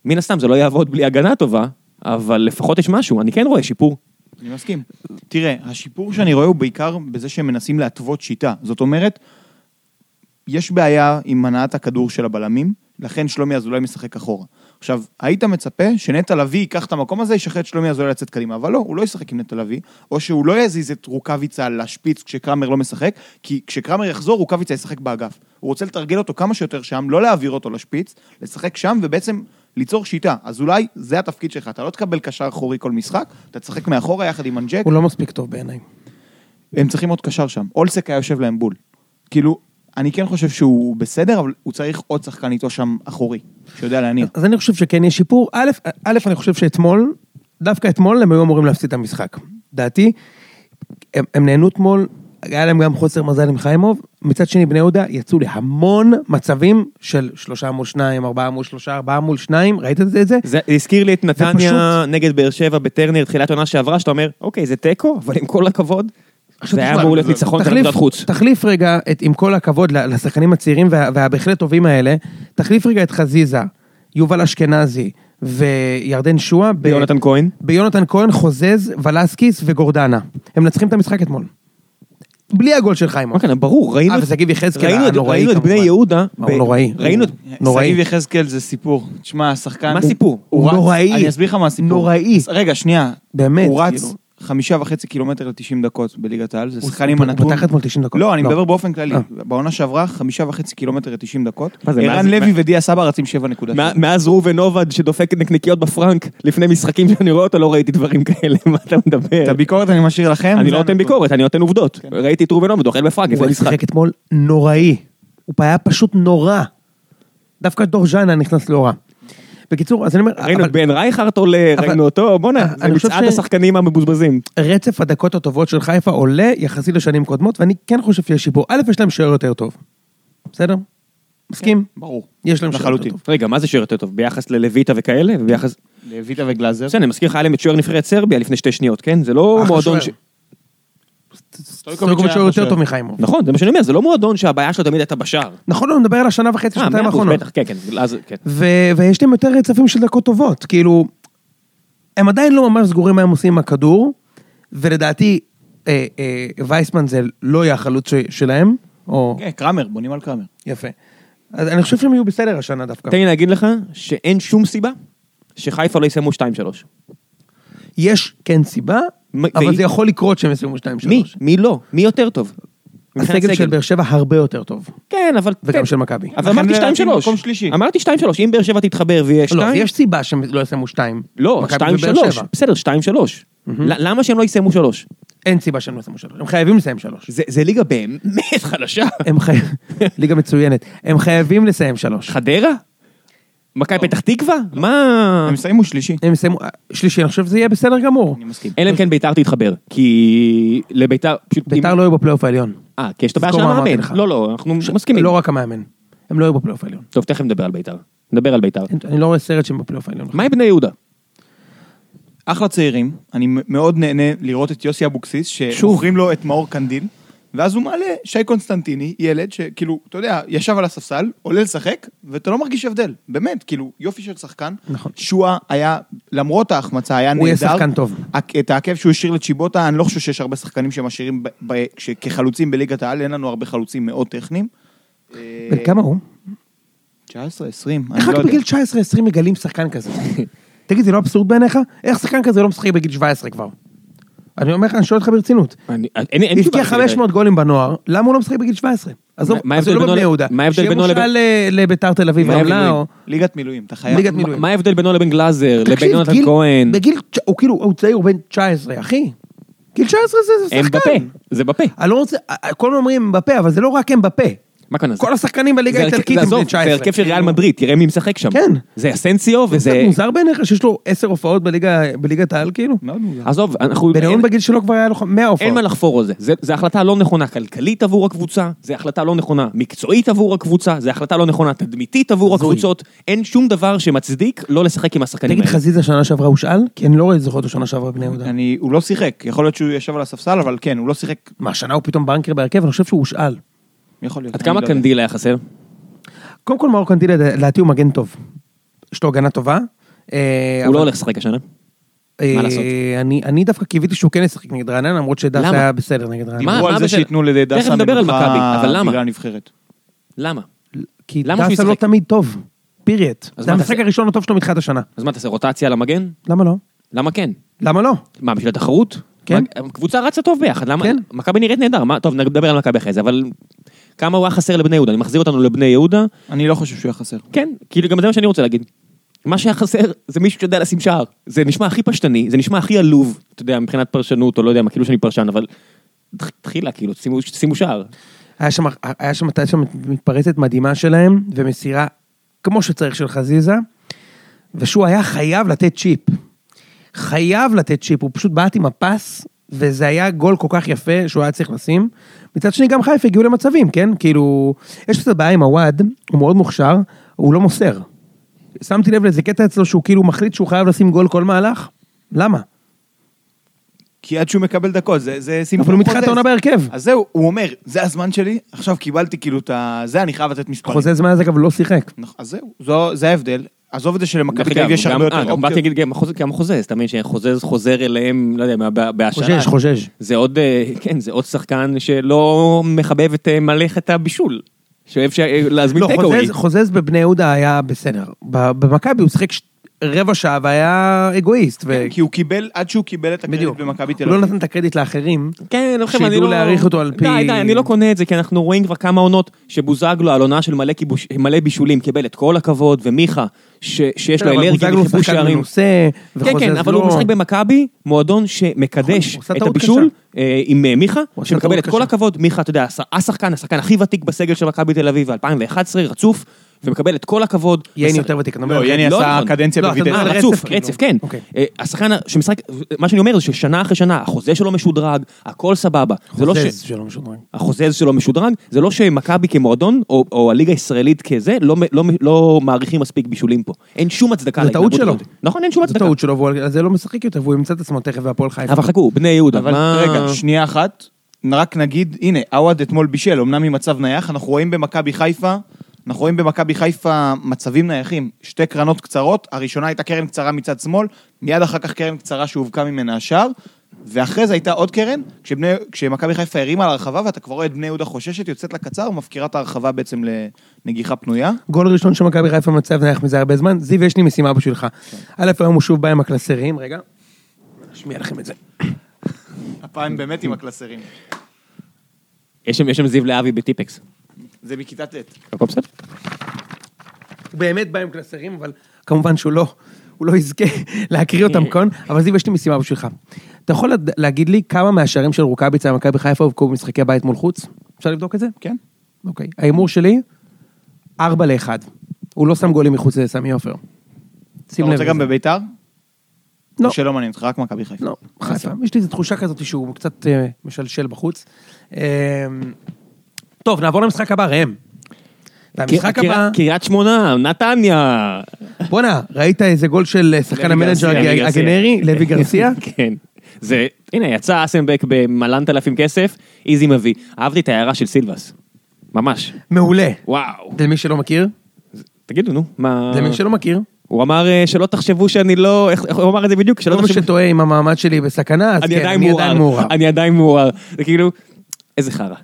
Speaker 1: מן הסתם זה לא יעבוד בלי הגנה טובה, אבל לפחות יש משהו, אני כן רואה שיפור.
Speaker 2: אני מסכים. תראה, השיפור שאני רואה הוא בעיקר בזה שהם מנסים להתוות שיטה. זאת אומרת, יש בעיה עם הנעת הכדור של הבלמים, לכן שלומי אזולאי משחק אחורה. עכשיו, היית מצפה שנטע לביא ייקח את המקום הזה, ישחרר את שלומי אזולאי לצאת קדימה, אבל לא, הוא לא ישחק עם נטע לביא, או שהוא לא יזיז את רוקאביצה לשפיץ כשקרמר לא משחק, כי כשקרמר יחזור, רוקאביצה ישחק באגף. הוא רוצה לתרגל אותו כמה שיותר שם, לא להעביר אותו לשפיץ, לשחק שם, ובעצם ליצור שיטה. אזולאי, זה התפקיד שלך, אתה לא תקבל קשר אחורי כל משחק, אתה תשחק מאחורה יחד עם אנג'ק,
Speaker 3: הוא לא מספיק טוב בעיניי.
Speaker 2: הם צריכים עוד קשר שם. אולסק היה יושב להם בול. כאילו, אני כן חושב שהוא בסדר, אבל הוא צריך עוד שחקן איתו שם אחורי, שיודע להניע.
Speaker 3: אז אני חושב שכן יש שיפור. א', א', אני חושב שאתמול, דווקא אתמול הם היו אמורים להפסיד את המשחק. דעתי, הם, הם נהנו אתמול, היה להם גם חוסר מזל עם חיימוב. מצד שני, בני יהודה יצאו להמון מצבים של שלושה מול שניים, ארבעה מול שלושה, ארבעה מול שניים, ראית את זה? את זה?
Speaker 1: זה הזכיר לי את נתניה
Speaker 3: ופשוט-
Speaker 1: נגד באר שבע בטרנר, תחילת עונה שעברה, שאתה אומר, אוקיי, זה תיקו, אבל עם כל הכבוד,
Speaker 3: עכשיו
Speaker 1: נכון, זה היה
Speaker 3: תשמע,
Speaker 1: אמור להיות
Speaker 3: זה-
Speaker 1: ניצחון של
Speaker 3: תחליף-
Speaker 1: נקודת חוץ.
Speaker 3: תחליף רגע, את, עם כל הכבוד ל- לשחקנים הצעירים וה, והבהחלט טובים האלה, תחליף רגע את חזיזה, יובל אשכנזי וירדן שועה. ב-
Speaker 1: יונתן כהן?
Speaker 3: ביונתן כהן, חוזז, ולסקיס וגורדנה. הם מנצחים את המשחק אתמול. בלי הגול של חיימוב.
Speaker 1: אוקיי, ברור, ראינו
Speaker 3: אה,
Speaker 1: את-
Speaker 3: ושגיב יחזקאל
Speaker 1: ראינו את-
Speaker 3: הנוראי
Speaker 1: ראינו את
Speaker 3: כמובן.
Speaker 1: בני יהודה,
Speaker 3: מה,
Speaker 1: ב-
Speaker 3: הוא נוראי.
Speaker 1: ראינו את...
Speaker 3: נוראי.
Speaker 2: שגיב יחזקאל זה סיפור. תשמע, השחקן...
Speaker 1: מה סיפור?
Speaker 3: הוא
Speaker 2: רץ-
Speaker 3: נוראי.
Speaker 2: אני אסביר לך מה הסיפור.
Speaker 3: נוראי.
Speaker 2: אז רגע, שנייה.
Speaker 3: באמת,
Speaker 2: הוא רץ
Speaker 3: כאילו.
Speaker 2: חמישה וחצי קילומטר ל-90 דקות בליגת העל, זה
Speaker 3: הוא-
Speaker 2: שחקן עם
Speaker 3: הוא- הוא
Speaker 2: הנתון.
Speaker 3: פתח אתמול 90 דקות.
Speaker 2: לא, אני
Speaker 3: לא.
Speaker 2: מדבר באופן כללי.
Speaker 3: אה.
Speaker 2: בעונה שעברה, חמישה וחצי קילומטר ל-90 דקות.
Speaker 1: מה זה, מאז-
Speaker 2: ערן לוי ודיה סבא רצים 7.7.
Speaker 1: מא- מאז ראובן עובד שדופק נקניקיות בפרנק לפני משחקים שאני רואה אותו, לא ראיתי דברים כאלה, מה אתה מדבר?
Speaker 2: את הביקורת אני משאיר לכם.
Speaker 1: אני
Speaker 2: זה
Speaker 1: לא נותן
Speaker 2: הנתון.
Speaker 1: ביקורת, אני נותן עובדות. ראיתי את ראובן עובד אוכל בפרנק
Speaker 3: כן. הוא
Speaker 1: לפני משחק.
Speaker 3: שיחק אתמול נוראי. הוא היה פשוט נורא. דווקא דורז'אנה נכנס לא רע. בקיצור, אז אני אומר,
Speaker 1: ראינו
Speaker 3: אבל
Speaker 1: את בן רייכרט עולה,
Speaker 3: אבל- אה,
Speaker 1: ראינו אותו, בואנה, זה
Speaker 3: אני חושב
Speaker 1: מצעד
Speaker 3: ש-
Speaker 1: השחקנים המבוזבזים.
Speaker 3: רצף הדקות הטובות של חיפה עולה יחסית לשנים קודמות, ואני כן חושב שיש שיפור. א', יש להם שוער יותר טוב. בסדר? מסכים?
Speaker 2: ברור.
Speaker 3: יש להם שוער יותר
Speaker 2: לחלוטין.
Speaker 3: טוב.
Speaker 1: רגע, מה זה שוער יותר טוב? ביחס ללויטה וכאלה? וביחס...
Speaker 2: לויטה וגלאזר.
Speaker 1: בסדר, אני מזכיר לך, היה להם את שוער נבחרת סרביה לפני שתי שניות, כן? זה לא
Speaker 3: אחלה
Speaker 1: מועדון ש...
Speaker 3: שוער. סטויקוביץ' שוער יותר טוב מחיימוב.
Speaker 1: נכון, זה מה שאני אומר, זה לא מועדון שהבעיה שלו תמיד הייתה בשער.
Speaker 3: נכון, אני מדבר על השנה וחצי,
Speaker 1: אה,
Speaker 3: שנתיים
Speaker 1: מאה אחוז,
Speaker 3: האחרונות.
Speaker 1: בטח, כן, כן, אז כן.
Speaker 3: ו- ויש להם יותר רצפים של דקות טובות, כאילו, הם עדיין לא ממש סגורים מה הם עושים עם הכדור, ולדעתי אה, אה, וייסמן זה לא יהיה החלוץ ש- שלהם, או...
Speaker 2: כן, קרמר, בונים על קרמר.
Speaker 3: יפה. אז אני חושב שהם יהיו בסדר השנה דווקא.
Speaker 1: תן לי להגיד לך שאין שום סיבה שחיפה לא יסיימו 2-3.
Speaker 3: יש כן סיבה,
Speaker 1: מ- והיא-
Speaker 3: אבל זה יכול לקרות שהם יסיימו 2-3.
Speaker 1: מי? מי לא? מי יותר טוב? מבחינת
Speaker 3: הסגל של באר שבע הרבה יותר טוב.
Speaker 1: כן, אבל...
Speaker 3: וגם
Speaker 1: תן-
Speaker 3: של מכבי. אה,
Speaker 1: אבל
Speaker 2: לכן
Speaker 1: אמרתי
Speaker 2: לדעתי
Speaker 1: 2-3.
Speaker 2: מקום שלישי.
Speaker 1: אמרתי 2-3, אם באר שבע תתחבר ויהיה 2...
Speaker 3: לא, אז יש סיבה שהם לא יסיימו 2.
Speaker 1: לא, 2-3. בסדר, 2-3. ל- למה שהם לא יסיימו 3?
Speaker 3: אין סיבה שהם לא יסיימו 3. הם חייבים לסיים 3.
Speaker 1: זה זה ליגה באמת חלשה.
Speaker 3: הם חייבים, ליגה מצוינת. הם חייבים לסיים 3.
Speaker 1: חדרה? מכבי פתח תקווה? מה...
Speaker 2: הם יסיימו שלישי.
Speaker 3: הם יסיימו, שלישי, אני חושב שזה יהיה בסדר גמור.
Speaker 2: אני מסכים.
Speaker 1: אלא אם כן ביתר תתחבר, כי לביתר... פשוט-
Speaker 3: ביתר לא היו בפלייאוף העליון.
Speaker 1: אה, כי יש את הבעיה של
Speaker 3: תזכור מה אמרתי
Speaker 1: המאמן.
Speaker 3: לך.
Speaker 1: לא, לא, אנחנו מסכימים.
Speaker 3: לא רק המאמן. הם לא היו בפלייאוף העליון.
Speaker 1: טוב, תכף נדבר על ביתר. נדבר על ביתר.
Speaker 3: אין- אני לא רואה סרט שהם בפלייאוף העליון.
Speaker 1: מה עם בני יהודה?
Speaker 2: אחלה צעירים, אני מאוד נהנה לראות את יוסי אבוקסיס, שמוכרים לו את מאור קנדיל, ואז הוא מעלה שי קונסטנטיני, ילד שכאילו, אתה יודע, ישב על הספסל, עולה לשחק, ואתה לא מרגיש הבדל, באמת, כאילו, יופי של שחקן.
Speaker 3: נכון.
Speaker 2: שועה היה, למרות ההחמצה, היה נהדר.
Speaker 3: הוא יהיה שחקן טוב.
Speaker 2: הק- את העקב שהוא השאיר לצ'יבוטה, אני לא חושב שיש הרבה שחקנים שמשאירים ב- ב- ש- כחלוצים בליגת העל, אין לנו הרבה חלוצים מאוד טכניים.
Speaker 1: אה,
Speaker 3: בן כמה הוא?
Speaker 2: 19, 20, אני
Speaker 3: איך
Speaker 2: לא
Speaker 3: רק
Speaker 2: יודע.
Speaker 3: בגיל 19-20 מגלים שחקן כזה? תגיד, זה לא אבסורד בעיניך? איך שחקן כזה לא משחק בגיל 17 כבר? אני אומר לך, אני שואל אותך ברצינות.
Speaker 1: אני- אין לי- אין לי תשובה
Speaker 3: הבקיע
Speaker 1: לזה, נראה לי.
Speaker 3: 500 גולים בנוער, למה הוא לא משחק בגיל 17? עזוב,
Speaker 1: מה
Speaker 3: אז
Speaker 1: ההבדל
Speaker 3: הוא לא
Speaker 1: בינו
Speaker 3: בבני
Speaker 1: ל-
Speaker 3: יהודה.
Speaker 1: מה ההבדל
Speaker 3: שיהיה
Speaker 1: בינו
Speaker 3: מושאל ל- לביתר תל אביב
Speaker 1: מה ההבדל
Speaker 3: רמלה, או...
Speaker 2: ליגת מילואים, אתה חייב.
Speaker 3: ליגת
Speaker 1: מה-
Speaker 3: מילואים.
Speaker 1: מה ההבדל בינו לבין גלאזר, לבין
Speaker 3: תקשיב,
Speaker 1: יונתן
Speaker 3: גיל-
Speaker 1: כהן?
Speaker 3: בגיל, תש- הוא כאילו, הוא צעיר, הוא בן 19, אחי. גיל 19 זה- זה
Speaker 1: הם
Speaker 3: שחקן.
Speaker 1: בפה, זה בפה.
Speaker 3: אני לא רוצה, כל הזמן אומרים בפה, אבל זה לא רק הם בפה.
Speaker 1: מה הכוונה?
Speaker 3: כל השחקנים בליגה
Speaker 1: זה הרכב-
Speaker 3: האיטלקית הם
Speaker 1: לעזוב,
Speaker 3: בני 19.
Speaker 1: זה הרכב של ריאל מדריד, תראה מי משחק שם.
Speaker 3: כן.
Speaker 1: זה אסנסיו
Speaker 3: זה
Speaker 1: וזה...
Speaker 3: מוזר בעיניך שיש לו 10 הופעות בליגה- בליגת העל, כאילו?
Speaker 2: מאוד מוזר.
Speaker 1: עזוב, אנחנו...
Speaker 3: בניון
Speaker 1: אין-
Speaker 3: בגיל שלו כבר היה לו ח- 100 הופעות.
Speaker 1: אין מה לחפור על זה. זה. זה החלטה לא נכונה כלכלית עבור הקבוצה, זה החלטה לא נכונה מקצועית עבור הקבוצה, זה החלטה לא נכונה תדמיתית עבור
Speaker 3: הזוי.
Speaker 1: הקבוצות. אין שום דבר שמצדיק לא לשחק עם השחקנים
Speaker 3: תגיד
Speaker 1: האלה.
Speaker 3: חזיזה שנה שעברה הושאל? כי אני לא רואה- זוכר אותו שנה שעברה בבני יהודה.
Speaker 2: אני, הוא לא שיחק, יכול להיות שהוא ישב על הספסל, אבל כן, הוא לא שיחק,
Speaker 3: מה, השנה הוא פתאום בנקר בהרכב? אני חושב שהוא הושאל.
Speaker 2: יכול להיות.
Speaker 1: עד
Speaker 2: אני
Speaker 1: כמה כן
Speaker 2: לא יודע.
Speaker 1: קנדיל היה חסר?
Speaker 3: אה, קודם כל מאור קנדילה, לדעתי הוא מגן טוב. יש לו הגנה טובה. אה,
Speaker 1: הוא
Speaker 3: אבל-
Speaker 1: לא הולך לשחק השנה.
Speaker 3: אה,
Speaker 1: לעשות?
Speaker 3: אני- אני דווקא קיוויתי שהוא כן ישחק נגד רעננה, למרות שדס
Speaker 1: למה?
Speaker 3: היה בסדר נגד רעננה.
Speaker 1: מה-
Speaker 2: דיברו על
Speaker 1: מה
Speaker 2: זה
Speaker 1: בסדר?
Speaker 2: שייתנו
Speaker 1: תכף
Speaker 2: לדסה
Speaker 1: נדבר על מכבי, אבל למה?
Speaker 2: בגלל הנבחרת.
Speaker 1: למה?
Speaker 3: כי
Speaker 1: למה שהוא
Speaker 3: דסה לא
Speaker 1: ישחק?
Speaker 3: תמיד טוב. פיריט.
Speaker 1: אז
Speaker 3: זה
Speaker 1: מה
Speaker 3: המשחק
Speaker 1: תעשה?
Speaker 3: הראשון הטוב שלו מתחילת השנה.
Speaker 1: אז מה, תעשה רוטציה על המגן?
Speaker 3: למה לא?
Speaker 1: למה כן?
Speaker 3: למה לא?
Speaker 1: מה, בשביל התחרות?
Speaker 3: כן.
Speaker 1: מה- הקבוצה רצה טוב ביחד, למה?
Speaker 3: כן.
Speaker 1: מכבי נראית נהדר, מה- טוב, נדבר על מכבי אחרי זה, אבל כמה הוא היה חסר לבני יהודה, אני מחזיר אותנו לבני יהודה,
Speaker 2: אני לא חושב שהוא היה חסר.
Speaker 1: כן, כאילו גם זה מה שאני רוצה להגיד. מה שהיה חסר זה מישהו שיודע לשים שער. זה נשמע הכי פשטני, זה נשמע הכי עלוב, אתה יודע, מבחינת פרשנות, או לא יודע מה, כאילו שאני פרשן, אבל... תח- תחילה, כאילו, שימו, שימו שער.
Speaker 3: היה שם, היה שם, הייתה שם מתפרצת מדהימה שלהם, ומסירה כמו שצריך של חזיזה, ושהוא היה חייב לתת צ'יפ. חייב לתת צ'יפ, הוא פשוט בעט עם הפס, וזה היה גול כל כך יפה שהוא היה צריך לשים. מצד שני, גם חיפה הגיעו למצבים, כן? כאילו, יש קצת בעיה עם הוואד, הוא מאוד מוכשר, הוא לא מוסר. שמתי לב לאיזה קטע אצלו שהוא כאילו מחליט שהוא חייב לשים גול כל מהלך? למה?
Speaker 2: כי עד שהוא מקבל דקות, זה, זה סימפון
Speaker 3: הוא מתחילת
Speaker 2: חוזז.
Speaker 3: העונה בהרכב.
Speaker 2: אז זהו, הוא אומר, זה הזמן שלי, עכשיו קיבלתי כאילו את ה... זה, אני חייב לתת מספרים.
Speaker 3: חוזה זמן הזה אגב לא שיחק.
Speaker 2: נכון, אז זהו, זו, זה ההבדל. עזוב את זה
Speaker 1: דרך
Speaker 2: שלמכבי תל
Speaker 1: אגב,
Speaker 2: אביב יש
Speaker 1: גם-
Speaker 2: הרבה
Speaker 1: אה,
Speaker 2: יותר
Speaker 1: גם באתי
Speaker 2: אופציות.
Speaker 1: להגיד גם חוז- גם חוזז, אתה מבין שחוזז חוזר אליהם, לא יודע, מה- בה- בהשאלה.
Speaker 3: חושש, חושש.
Speaker 1: זה עוד, אה, כן, זה עוד שחקן שלא מחבב את אה, מלאכת הבישול. שאוהב ש- אה, להזמין
Speaker 3: לא,
Speaker 1: טקאווי.
Speaker 3: חוזז, חוזז בבני יהודה היה בסדר. ב- במכבי הוא שיחק ש- רבע שעה והיה אגואיסט. ו...
Speaker 2: כן, כי הוא קיבל, עד שהוא קיבל את הקרדיט
Speaker 3: בדיוק.
Speaker 2: במכבי תל
Speaker 3: הוא לא
Speaker 2: אביב.
Speaker 3: נתן את הקרדיט לאחרים.
Speaker 1: כן, לא חושב, אני לא...
Speaker 3: שידעו להעריך אותו על פי-
Speaker 1: די, די, אני לא קונה את זה, כי אנחנו רואים כבר כמה עונות שבוזגלו, על עונה של מלא, כיבוש... מלא בישולים, קיבל את כל הכבוד, ומיכה, ש... שיש לו
Speaker 3: כן, אבל
Speaker 1: אלרגיה
Speaker 3: בוזגלו הוא
Speaker 1: לכיבוש
Speaker 3: שחקן
Speaker 1: שערים.
Speaker 3: מנוסה,
Speaker 1: כן,
Speaker 3: וחוזז
Speaker 1: כן, אבל
Speaker 3: לא...
Speaker 1: הוא משחק במכבי, מועדון שמקדש
Speaker 3: נכון, הוא עשה
Speaker 1: את
Speaker 3: טעות
Speaker 1: הבישול אה, עם אה, מיכה,
Speaker 3: הוא עשה
Speaker 1: שמקבל
Speaker 3: טעות
Speaker 1: את כל
Speaker 3: קשה.
Speaker 1: הכבוד. מיכה, אתה יודע, הש- השחקן, השחקן הכי ותיק בסגל של מכבי תל אביב, 2011, רצוף, ומקבל את כל הכבוד.
Speaker 3: ייני
Speaker 1: השח-
Speaker 3: יותר ותיק. אתה אומר, כן.
Speaker 2: לא, יני
Speaker 1: לא
Speaker 2: עשה
Speaker 1: נכון.
Speaker 2: קדנציה
Speaker 3: לא, אתה
Speaker 2: בווידאו.
Speaker 3: מדבר
Speaker 1: אה,
Speaker 3: על
Speaker 1: רצף,
Speaker 3: רצף, כאילו.
Speaker 1: רצף, כן.
Speaker 3: אוקיי.
Speaker 1: אה, השחקן שמשחק, מה שאני אומר זה ששנה אחרי שנה, החוזה שלו משודרג, הכל סבבה. זה לא ש-
Speaker 3: חוזז שלא משודרג.
Speaker 1: החוזז שלו משודרג, זה לא שמכבי כמועדון, או, או הליגה הישראלית כזה, לא, לא, לא מעריכים מספיק בישולים פה. אין שום הצדקה
Speaker 3: זו טעות
Speaker 1: להתנהגות
Speaker 3: שלו.
Speaker 1: הזאת. נכון, אין שום
Speaker 3: זו
Speaker 1: הצדקה.
Speaker 3: טעות שלו, והוא על זה לא משחק יותר, והוא ימצא את עצמו תכף בהפועל חיפה.
Speaker 1: אבל חכו, בני יהודה,
Speaker 2: אבל
Speaker 1: מה...
Speaker 2: רגע, שנייה אחת, רק נגיד, הנה, עווד אתמול בישל, אמנם ממצב נייח, אנחנו רואים במכבי חיפה, אנחנו רואים במכבי חיפה מצבים נייחים, שתי קרנות קצרות, הראשונה הייתה קרן קצרה מצד שמאל, מיד אחר כך קרן קצרה שהובקע ממנה השער, ואחרי זה הייתה עוד קרן, כשבני, כשמכבי חיפה הרימה לרחבה, ואתה כבר רואה את בני יהודה חוששת, יוצאת לקצר ומפקירה את הרחבה בעצם לנגיחה פנויה.
Speaker 3: גול ראשון של מכבי חיפה מצב נייח מזה הרבה זמן. זיו, יש לי משימה בשבילך.
Speaker 2: כן.
Speaker 3: א', היום הוא שוב בא עם הקלסרים, רגע. נשמיע לכם את זה.
Speaker 2: הפעם באמת עם הקלסרים.
Speaker 1: יש שם, יש שם זיו להבי בטיפקס.
Speaker 2: זה בכיתה ט'.
Speaker 1: הכל בסדר?
Speaker 3: הוא באמת בא עם קלסרים, אבל כמובן שהוא לא, הוא לא יזכה להקריא
Speaker 2: אה.
Speaker 3: אותם כאן, אבל זיו, יש לי משימה בשבילך. אתה יכול לד- להגיד לי כמה מהשערים של רוקאביצה במכבי חיפה הובקעו במשחקי הבית מול חוץ? אפשר לבדוק את זה?
Speaker 2: כן.
Speaker 3: אוקיי. ההימור שלי, 4 ל-1. הוא לא שם גולים מחוץ לסמי עופר.
Speaker 2: אתה
Speaker 3: שים לב.
Speaker 2: רוצה גם
Speaker 3: לזה.
Speaker 2: בביתר?
Speaker 3: לא.
Speaker 2: או שלא מעניין אותך, רק מכבי חיפה.
Speaker 3: לא, חיפה. יש לי איזו תחושה כזאת שהוא קצת אה, משלשל בחוץ. אה, טוב, נעבור למשחק הבא, ראם. והמשחק
Speaker 1: קריית-
Speaker 3: הבא...
Speaker 1: קריית שמונה, נתניה.
Speaker 3: בואנה, ראית איזה גול של אה, שחקן
Speaker 1: לוי
Speaker 3: המנג'ר
Speaker 1: גרסיה, לוי
Speaker 3: הג-
Speaker 1: גרסיה.
Speaker 3: הגנרי, לוי גרסיה?
Speaker 1: כן. זה, הנה, יצא אסנבק במלנת אלפים כסף, איזי מביא. אהבתי את ההערה של סילבס. ממש.
Speaker 3: מעולה.
Speaker 1: וואו.
Speaker 3: למי שלא מכיר,
Speaker 1: תגידו, נו, מה...
Speaker 3: למי שלא מכיר,
Speaker 1: הוא אמר אה, שלא תחשבו שאני לא... איך איך הוא אמר את זה בדיוק? שלא
Speaker 3: כל מי
Speaker 1: תחשבו...
Speaker 3: לא שטועה אם המעמד שלי בסכנה, אז
Speaker 1: לא אני
Speaker 3: כן,
Speaker 1: עדיין
Speaker 3: אני עדיין
Speaker 1: מעורער.
Speaker 3: מעורער.
Speaker 1: אני עדיין מעורער. זה כאילו, איזה חרא.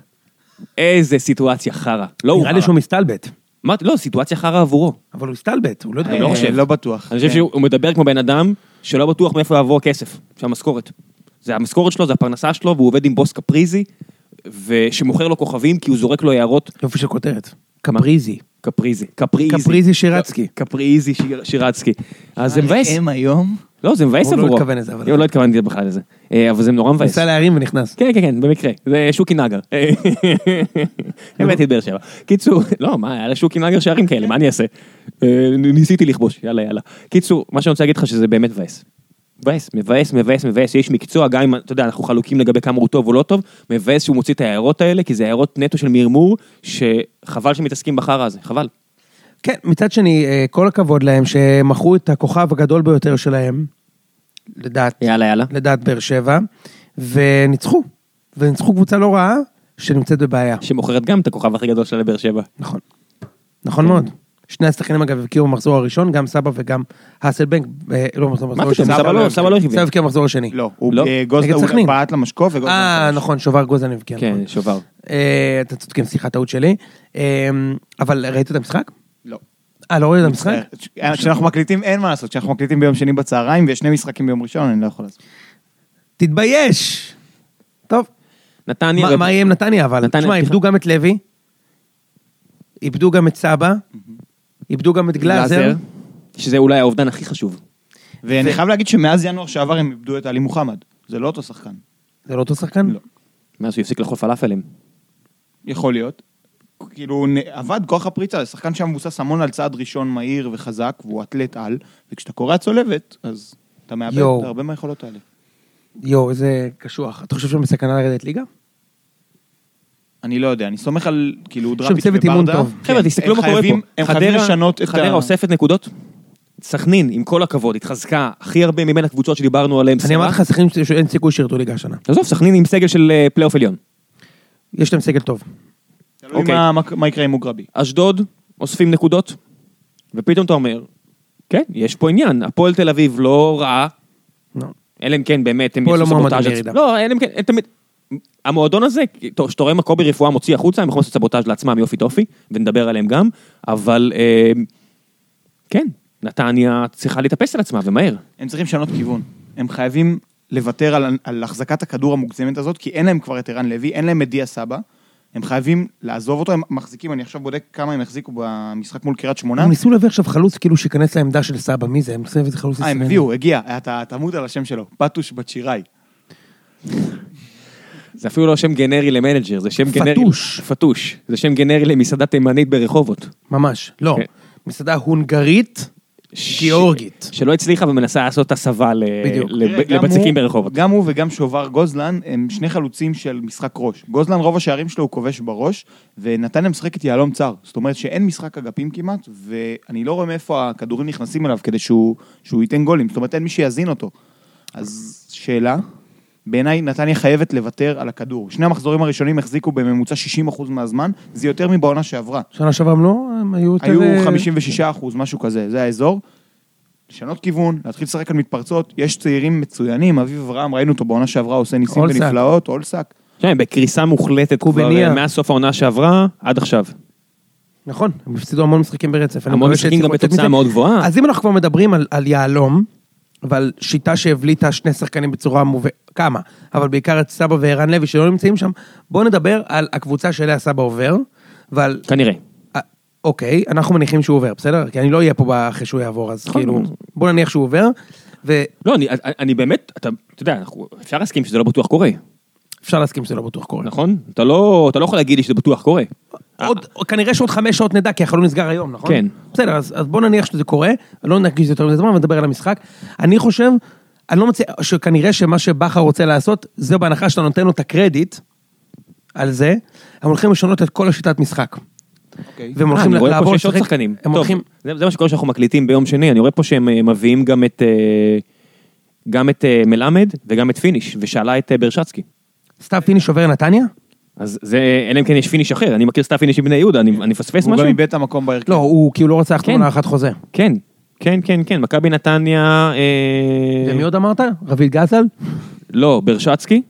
Speaker 1: איזה סיטואציה חרא. לא הוא
Speaker 3: נראה לי
Speaker 1: חרא.
Speaker 3: שהוא מסתלבט,
Speaker 1: אמרתי, לא, סיטואציה חרא עבורו.
Speaker 3: אבל הוא מסתלבט, הוא לא יודע.
Speaker 1: אני לא
Speaker 2: אה,
Speaker 1: חושב.
Speaker 2: לא בטוח.
Speaker 1: אני חושב
Speaker 2: כן.
Speaker 1: שהוא מדבר כמו בן אדם שלא בטוח מאיפה יעבור הכסף, של המשכורת. זה המשכורת שלו, זה הפרנסה שלו, והוא עובד עם בוס קפריזי, ושמוכר לו כוכבים כי הוא זורק לו הערות
Speaker 3: יופי של כותרת. קפריזי.
Speaker 1: קפריזי. קפריזי.
Speaker 3: קפריזי שירצקי.
Speaker 1: קפריזי שיר- שירצקי. אז זה מבאס.
Speaker 2: הם היום?
Speaker 1: לא, זה מבאס
Speaker 3: הוא לא
Speaker 1: עבורו.
Speaker 3: התכוון לזה, אבל-
Speaker 1: אבל... לא התכוונתי בכלל לזה. אה, אבל זה נורא מבאס.
Speaker 3: ניסה להרים ונכנס.
Speaker 1: כן, כן, כן, במקרה. זה שוקי נגר. הבאתי את באר שבע. קיצור, לא, מה, היה לשוקי נגר שערים כאלה, מה אני אעשה? אה, ניסיתי לכבוש, יאללה, יאללה. קיצור, מה שאני רוצה להגיד לך שזה באמת מבאס. מבאס, מבאס, מבאס, מבאס, יש מקצוע, גם אם, אתה יודע, אנחנו חלוקים לגבי כמה הוא טוב או לא טוב, מבאס שהוא מוציא את ההערות האלה, כי זה הערות נטו של מרמור, שחבל שמתעסקים בחרא הזה, חבל.
Speaker 3: כן, מצד שני, אה, כל הכבוד להם שמכרו את הכוכב הגדול ביותר שלהם, לדעת,
Speaker 1: יאללה, יאללה.
Speaker 3: לדעת באר שבע, וניצחו. וניצחו קבוצה לא רעה, שנמצאת בבעיה.
Speaker 1: שמוכרת גם את הכוכב הכי גדול שלה לבאר שבע.
Speaker 3: נכון. נכון מאוד. שני השחקנים אגב הבקיעו במחזור הראשון, גם סבא וגם האסלבנק, אה, לא במחזור
Speaker 1: מה
Speaker 3: הראשון.
Speaker 1: פתאום, סבא לא- סבא לא הבקיע.
Speaker 3: סבא הבקיע במחזור השני.
Speaker 2: לא, הוא
Speaker 1: לא.
Speaker 2: אה, גוזלן,
Speaker 3: נגד
Speaker 2: הוא
Speaker 3: סכנין.
Speaker 2: בעט למשקוף וגוזלן.
Speaker 3: אה,
Speaker 2: כבש.
Speaker 3: נכון, שובר גוזלן הבקיע. נכון.
Speaker 1: כן, שובר.
Speaker 3: אה, אתה צודקים, סליחה, טעות שלי. אה, אבל ראית את המשחק?
Speaker 2: לא.
Speaker 3: אה, לא ראית את המשחק?
Speaker 2: אה, כשאנחנו מקליטים אין מה לעשות, כשאנחנו מקליטים ביום שני בצהריים ויש שני משחקים ביום ראשון אני לא יכול לעשות.
Speaker 3: תתבייש! טוב,
Speaker 1: נתניה... לא-
Speaker 3: מה
Speaker 1: ו-
Speaker 3: מה יהיה עם נתניה אבל?
Speaker 1: נתניה,
Speaker 3: תשמע,
Speaker 1: סליחה.
Speaker 3: איבדו גם את לוי, איבדו גם את סבא, איבדו גם את גלאזר.
Speaker 1: שזה אולי האובדן הכי חשוב.
Speaker 2: ואני חייב להגיד שמאז ינואר שעבר הם איבדו את עלי מוחמד. זה לא אותו שחקן.
Speaker 3: זה לא אותו שחקן?
Speaker 2: לא.
Speaker 1: מאז שהוא הפסיק לאכול פלאפלים.
Speaker 2: יכול להיות. כאילו, נ- עבד כוח הפריצה, זה שחקן שהיה מבוסס המון על צעד ראשון מהיר וחזק, והוא אתלט על, וכשאתה קורע צולבת, אז אתה מאבד
Speaker 3: יואו.
Speaker 2: הרבה מהיכולות האלה.
Speaker 3: יואו, איזה קשוח. אתה חושב שהם בסכנה לרדת ליגה?
Speaker 2: אני לא יודע, אני סומך על, כאילו, דראפיץ'
Speaker 3: שם
Speaker 2: וברדה.
Speaker 3: צוות אימון טוב.
Speaker 1: חבר'ה,
Speaker 2: כן,
Speaker 1: תסתכלו
Speaker 2: הם
Speaker 1: מה קורה פה.
Speaker 2: חייבים- הם חייבים
Speaker 1: חדרה-
Speaker 2: לשנות את ה...
Speaker 1: חדרה אוספת נקודות. סכנין, עם כל הכבוד, התחזקה הכי הרבה מבין הקבוצות שדיברנו עליהן.
Speaker 3: אני
Speaker 1: סבבה?
Speaker 3: אמרתי לך, שחקנים ש- שאין סיכוי שירדו ליגה השנה.
Speaker 1: עזוב, סכנין עם סגל של אה, פלייאוף עליון.
Speaker 3: יש להם סגל טוב.
Speaker 2: תלוי
Speaker 1: אוקיי.
Speaker 2: מה- מה- מה יקרה עם מוגרבי.
Speaker 1: אשדוד, אוספים נקודות, ופתאום אתה אומר, כן, יש פה עניין, הפועל תל אביב לא רעה,
Speaker 3: לא.
Speaker 1: אלא אם כן באמת הם
Speaker 3: פה לא מועמדים
Speaker 1: סבוטאז'
Speaker 3: לירידה.
Speaker 1: לעצמם. לא, אלא אם כן, הם תמיד... המועדון הזה, טוב, שאתה רואה מכבי רפואה מוציא החוצה, הם יכולים לעשות סבוטאז' לעצמם, יופי טופי, ונדבר עליהם גם, אבל אה, כן, נתניה צריכה להתאפס על עצמה, ומהר.
Speaker 2: הם צריכים לשנות כיוון. הם חייבים לוותר על, על החזקת הכדור המוגזמת הזאת, כי אין להם כבר את ערן לוי, אין להם את דיה סבא. הם חייבים לעזוב אותו, הם מחזיקים, אני עכשיו בודק כמה הם החזיקו במשחק מול קריית שמונה. אה,
Speaker 3: הם ניסו להביא עכשיו חלוץ כאילו שייכנס לעמדה של סבא, מי זה? הם ניסו להביא איזה חלוץ
Speaker 2: אה, הם
Speaker 3: ישראלי.
Speaker 2: הביאו, הגיע, אתה תמות על השם שלו, פטוש בת שיראי.
Speaker 1: זה אפילו לא שם גנרי למנג'ר, זה שם גנרי...
Speaker 3: פטוש.
Speaker 1: פטוש. זה שם גנרי למסעדה תימנית ברחובות.
Speaker 3: ממש, לא.
Speaker 1: כן.
Speaker 3: מסעדה הונגרית,
Speaker 1: ש-
Speaker 3: גיאורגית.
Speaker 1: שלא הצליחה ומנסה לעשות הסבה ל-
Speaker 3: בדיוק.
Speaker 1: לב-
Speaker 2: תראה, גם
Speaker 1: לבצקים
Speaker 2: הוא-
Speaker 1: ברחובות.
Speaker 2: גם הוא וגם שובר גוזלן הם שני חלוצים של משחק ראש. גוזלן, רוב השערים שלו הוא כובש בראש, ונתניה משחקת יהלום צר. זאת אומרת שאין משחק אגפים כמעט, ואני לא רואה מאיפה הכדורים נכנסים אליו כדי שהוא, שהוא ייתן גולים. זאת אומרת, אין מי שיאזין אותו. אז שאלה, בעיניי נתניה חייבת לוותר על הכדור. שני המחזורים הראשונים החזיקו בממוצע 60% מהזמן, זה יותר מבעונה שעברה.
Speaker 3: שנה שעברה הם לא, הם היו יותר...
Speaker 2: היו
Speaker 3: אה,
Speaker 2: 56 אחוז, משהו כזה, זה האזור. לשנות כיוון, להתחיל לשחק על מתפרצות, יש צעירים מצוינים, אביב אברהם, ראינו אותו בעונה שעברה, עושה ניסים
Speaker 3: אולסק.
Speaker 2: ונפלאות, אולסק.
Speaker 1: תשמע, הם בקריסה מוחלטת כבר
Speaker 3: קובניה.
Speaker 1: אה, מאז סוף העונה שעברה עד עכשיו.
Speaker 3: נכון, הם הפסידו המון משחקים ברצף. אני
Speaker 1: המון
Speaker 3: מקווה
Speaker 1: משחקים
Speaker 3: שיצליחו
Speaker 1: גם
Speaker 3: לצאת
Speaker 1: בתוצאה
Speaker 3: מזה.
Speaker 1: מאוד גבוהה.
Speaker 3: אז אם אנחנו כבר מדברים על- על יהלום, ועל שיטה שהבליטה שני שחקנים בצורה מובהקת, כמה, אבל בעיקר את סבא וערן לוי שלא נמצאים שם, בואו נדבר על הקבוצה שאליה סבא עובר, ועל...
Speaker 1: כנראה.
Speaker 3: אה, אוקיי, אנחנו מניחים שהוא עובר, בסדר? כי אני לא אהיה פה אחרי שהוא יעבור, אז
Speaker 1: נכון.
Speaker 3: כאילו, בואו נניח שהוא עובר, ואפשר
Speaker 1: לא, אני- אני באמת, אתה אתה יודע, אנחנו- אפשר להסכים שזה לא בטוח קורה,
Speaker 3: להסכים שזה לא בטוח קורה.
Speaker 1: נכון? אתה לא אתה לא יכול להגיד לי שזה בטוח קורה.
Speaker 3: עוד, כנראה שעוד חמש שעות נדע, כי החלון נסגר היום, נכון?
Speaker 1: אה. כן.
Speaker 3: בסדר, אז, אז בוא נניח שזה קורה, לא נרגיש יותר מזה זמן, ונדבר על המשחק. אני חושב, אני לא מציע, שכנראה שמה שבכר רוצה לעשות, זה בהנחה שאתה נותן לו את הקרדיט על זה, הם הולכים לשנות את כל השיטת משחק. והם
Speaker 1: אה,
Speaker 3: הולכים
Speaker 1: אני רואה פה
Speaker 3: לעבור
Speaker 1: שיש עוד
Speaker 3: לשחק-
Speaker 1: שחקנים.
Speaker 3: הם
Speaker 1: טוב,
Speaker 3: הולכים...
Speaker 1: זה זה מה שקורה שאנחנו מקליטים ביום שני, אני רואה פה שהם אה, מביאים גם את אה, גם את אה, מלמד וגם את פיניש, ושאלה את אה, ברשצקי.
Speaker 3: סתיו פיניש עובר נתניה?
Speaker 1: אז זה, אלא אם כן יש פיניש אחר, אני מכיר סתיו פיניש מבני יהודה, אני אני מפספס
Speaker 2: הוא
Speaker 1: משהו?
Speaker 2: גם איבד את המקום בהרכב.
Speaker 3: לא, הוא כי הוא לא רוצה לחתום
Speaker 1: כן.
Speaker 3: על הארכת חוזה.
Speaker 1: כן, כן, כן, כן, מכבי נתניה... אה,
Speaker 3: ומי עוד אמרת? רביד גזל?
Speaker 1: לא, ברשצקי,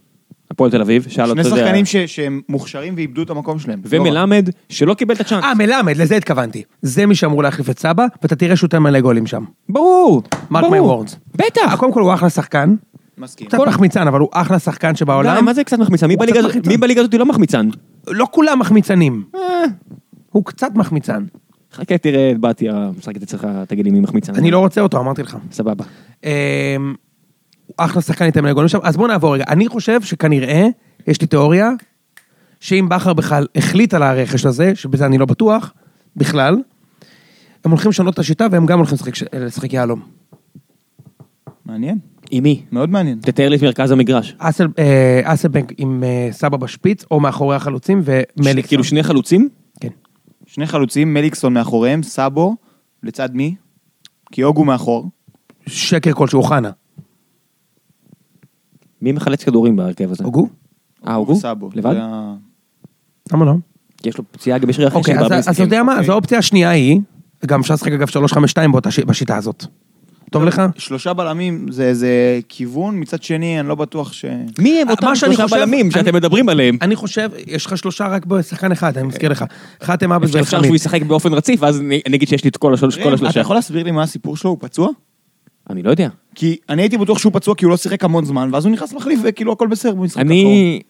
Speaker 1: הפועל תל אביב, שאל אותו,
Speaker 2: שני
Speaker 1: לא, אתה יודע,
Speaker 2: שחקנים ש- שהם מוכשרים ואיבדו את המקום שלהם. לא רע.
Speaker 1: ומלמד, שלא קיבל את הצ'אנס.
Speaker 3: אה, מלמד, לזה התכוונתי. זה מי שאמור להחליף את סבא, ואתה תראה שהוא יותר מלא גולים שם.
Speaker 1: ברור,
Speaker 3: מרק
Speaker 1: ברור.
Speaker 3: מי וורדס.
Speaker 1: בטח.
Speaker 3: קודם כל הוא אחלה שחקן,
Speaker 2: מסכים.
Speaker 3: קצת מחמיצן, אבל הוא אחלה שחקן
Speaker 1: די,
Speaker 3: שבעולם.
Speaker 1: לא, מה זה קצת מחמיצן? מי
Speaker 3: הוא
Speaker 1: בליגה הזאת-
Speaker 3: קצת מחמיצן.
Speaker 1: מי בליגה הזאת לא מחמיצן? אה,
Speaker 3: לא כולם מחמיצנים. הוא קצת מחמיצן.
Speaker 1: חכה תראה את בתיה משחקת אצלך, תגיד לי מי מחמיצן.
Speaker 3: אני לא רוצה אותו, אמרתי לך.
Speaker 1: סבבה.
Speaker 3: אמ, הוא אחלה שחקן איתם לגולים שם, אז בואו נעבור רגע. אני חושב שכנראה, יש לי תיאוריה, שאם בכר בכלל החליט על הרכש הזה, שבזה אני לא בטוח, בכלל, הם הולכים לשנות את השיטה והם גם הולכים לשחק ש- לשחק יהלום.
Speaker 2: מעניין,
Speaker 1: עם מי?
Speaker 2: מאוד מעניין.
Speaker 1: תתאר לי את מרכז המגרש.
Speaker 3: אסל- אה, אסלבנק עם אה, סבא בשפיץ, או מאחורי החלוצים, ומליקסון.
Speaker 1: כאילו שני חלוצים?
Speaker 3: כן.
Speaker 2: שני חלוצים, מליקסון מאחוריהם, סאבו, לצד מי? קיוגו מאחור.
Speaker 3: שקר כלשהו, אוחנה.
Speaker 1: מי מחלץ כדורים בהרכב הזה?
Speaker 3: הוגו?
Speaker 1: אה, הוגו?
Speaker 2: סאבו.
Speaker 1: לבד?
Speaker 2: זה ה-
Speaker 3: למה לא?
Speaker 1: יש לו פציעה גם בשריר אחר
Speaker 3: אוקיי, אז- אז אתה יודע מה, אז
Speaker 2: אוקיי.
Speaker 3: האופציה השנייה היא, גם אפשר לשחק אגב 3-5-2 באותה ש- בשיטה הזאת. טוב לך?
Speaker 2: שלושה בלמים זה, זה כיוון, מצד שני אני לא בטוח ש...
Speaker 1: מי הם
Speaker 3: מה
Speaker 1: אותם
Speaker 3: שאני
Speaker 1: שלושה
Speaker 3: חושב-
Speaker 1: בלמים שאתם
Speaker 3: אני-
Speaker 1: מדברים עליהם?
Speaker 3: אני חושב, יש לך שלושה רק בשחקן אחד, אני מזכיר לך. חתם אבס
Speaker 1: אפשר שהוא
Speaker 3: ואלחמיד.
Speaker 1: ישחק באופן רציף, ואז אני אני אגיד שיש לי את כל השלוש- כל
Speaker 2: אתה
Speaker 1: השלושה.
Speaker 2: יכול להסביר לי מה הסיפור שלו? הוא פצוע?
Speaker 1: אני לא יודע.
Speaker 2: כי אני הייתי בטוח שהוא פצוע כי הוא לא שיחק המון זמן, ואז הוא נכנס מחליף וכאילו הכל בסדר במשחק האחרון.
Speaker 1: אני...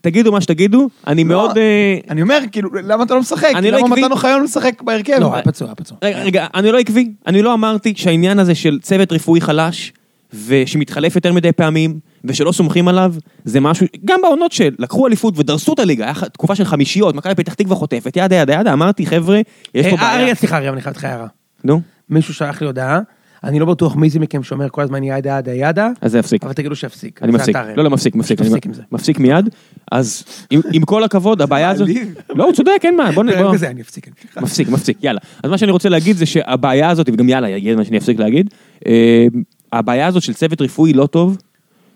Speaker 1: תגידו מה שתגידו, אני
Speaker 2: לא,
Speaker 1: מאוד... אה,
Speaker 2: אני אומר, כאילו, למה אתה לא משחק?
Speaker 1: אני לא
Speaker 2: למה
Speaker 1: עקבי.
Speaker 2: מתן אוחיון משחק בהרכב?
Speaker 3: לא, היה פצוע, היה פצוע.
Speaker 1: רגע, רגע, אני לא עקבי. אני לא אמרתי שהעניין הזה של צוות רפואי חלש, ושמתחלף יותר מדי פעמים, ושלא סומכים עליו, זה משהו... גם בעונות שלקחו אליפות ודרסו את הליגה, היה ח- תקופה של חמישיות, מכבי פתח תקווה חוטפת, ידה ידה ידה, אמרתי, חבר'ה, יש פה
Speaker 3: אה,
Speaker 1: בעיה.
Speaker 3: אריה, סליחה, אריה, אני חייב לך הערה.
Speaker 1: נו,
Speaker 3: מישהו שלח לי הודעה, אני לא בטוח מי זה מכם שאומר כל הזמן ידה ידה ידה,
Speaker 1: אז זה יפסיק.
Speaker 3: אבל תגידו שיפסיק.
Speaker 1: אני
Speaker 3: זה
Speaker 1: מפסיק.
Speaker 3: אתה, אריה.
Speaker 1: לא, לא, מפסיק, מפסיק. אני
Speaker 3: תפסיק עם זה.
Speaker 1: מפסיק מיד. אז עם- עם כל הכבוד, הבעיה הזאת...
Speaker 2: מעליב.
Speaker 1: לא, הוא צודק, אין מה, בוא נ... בוא-
Speaker 3: ברגע זה כן, אני אפסיק.
Speaker 1: מפסיק, מפסיק, יאללה. אז מה שאני רוצה להגיד זה שהבעיה הזאת, וגם יאללה, יגיד מה שאני אפסיק להגיד, אה, הבעיה הזאת של צוות רפואי לא טוב,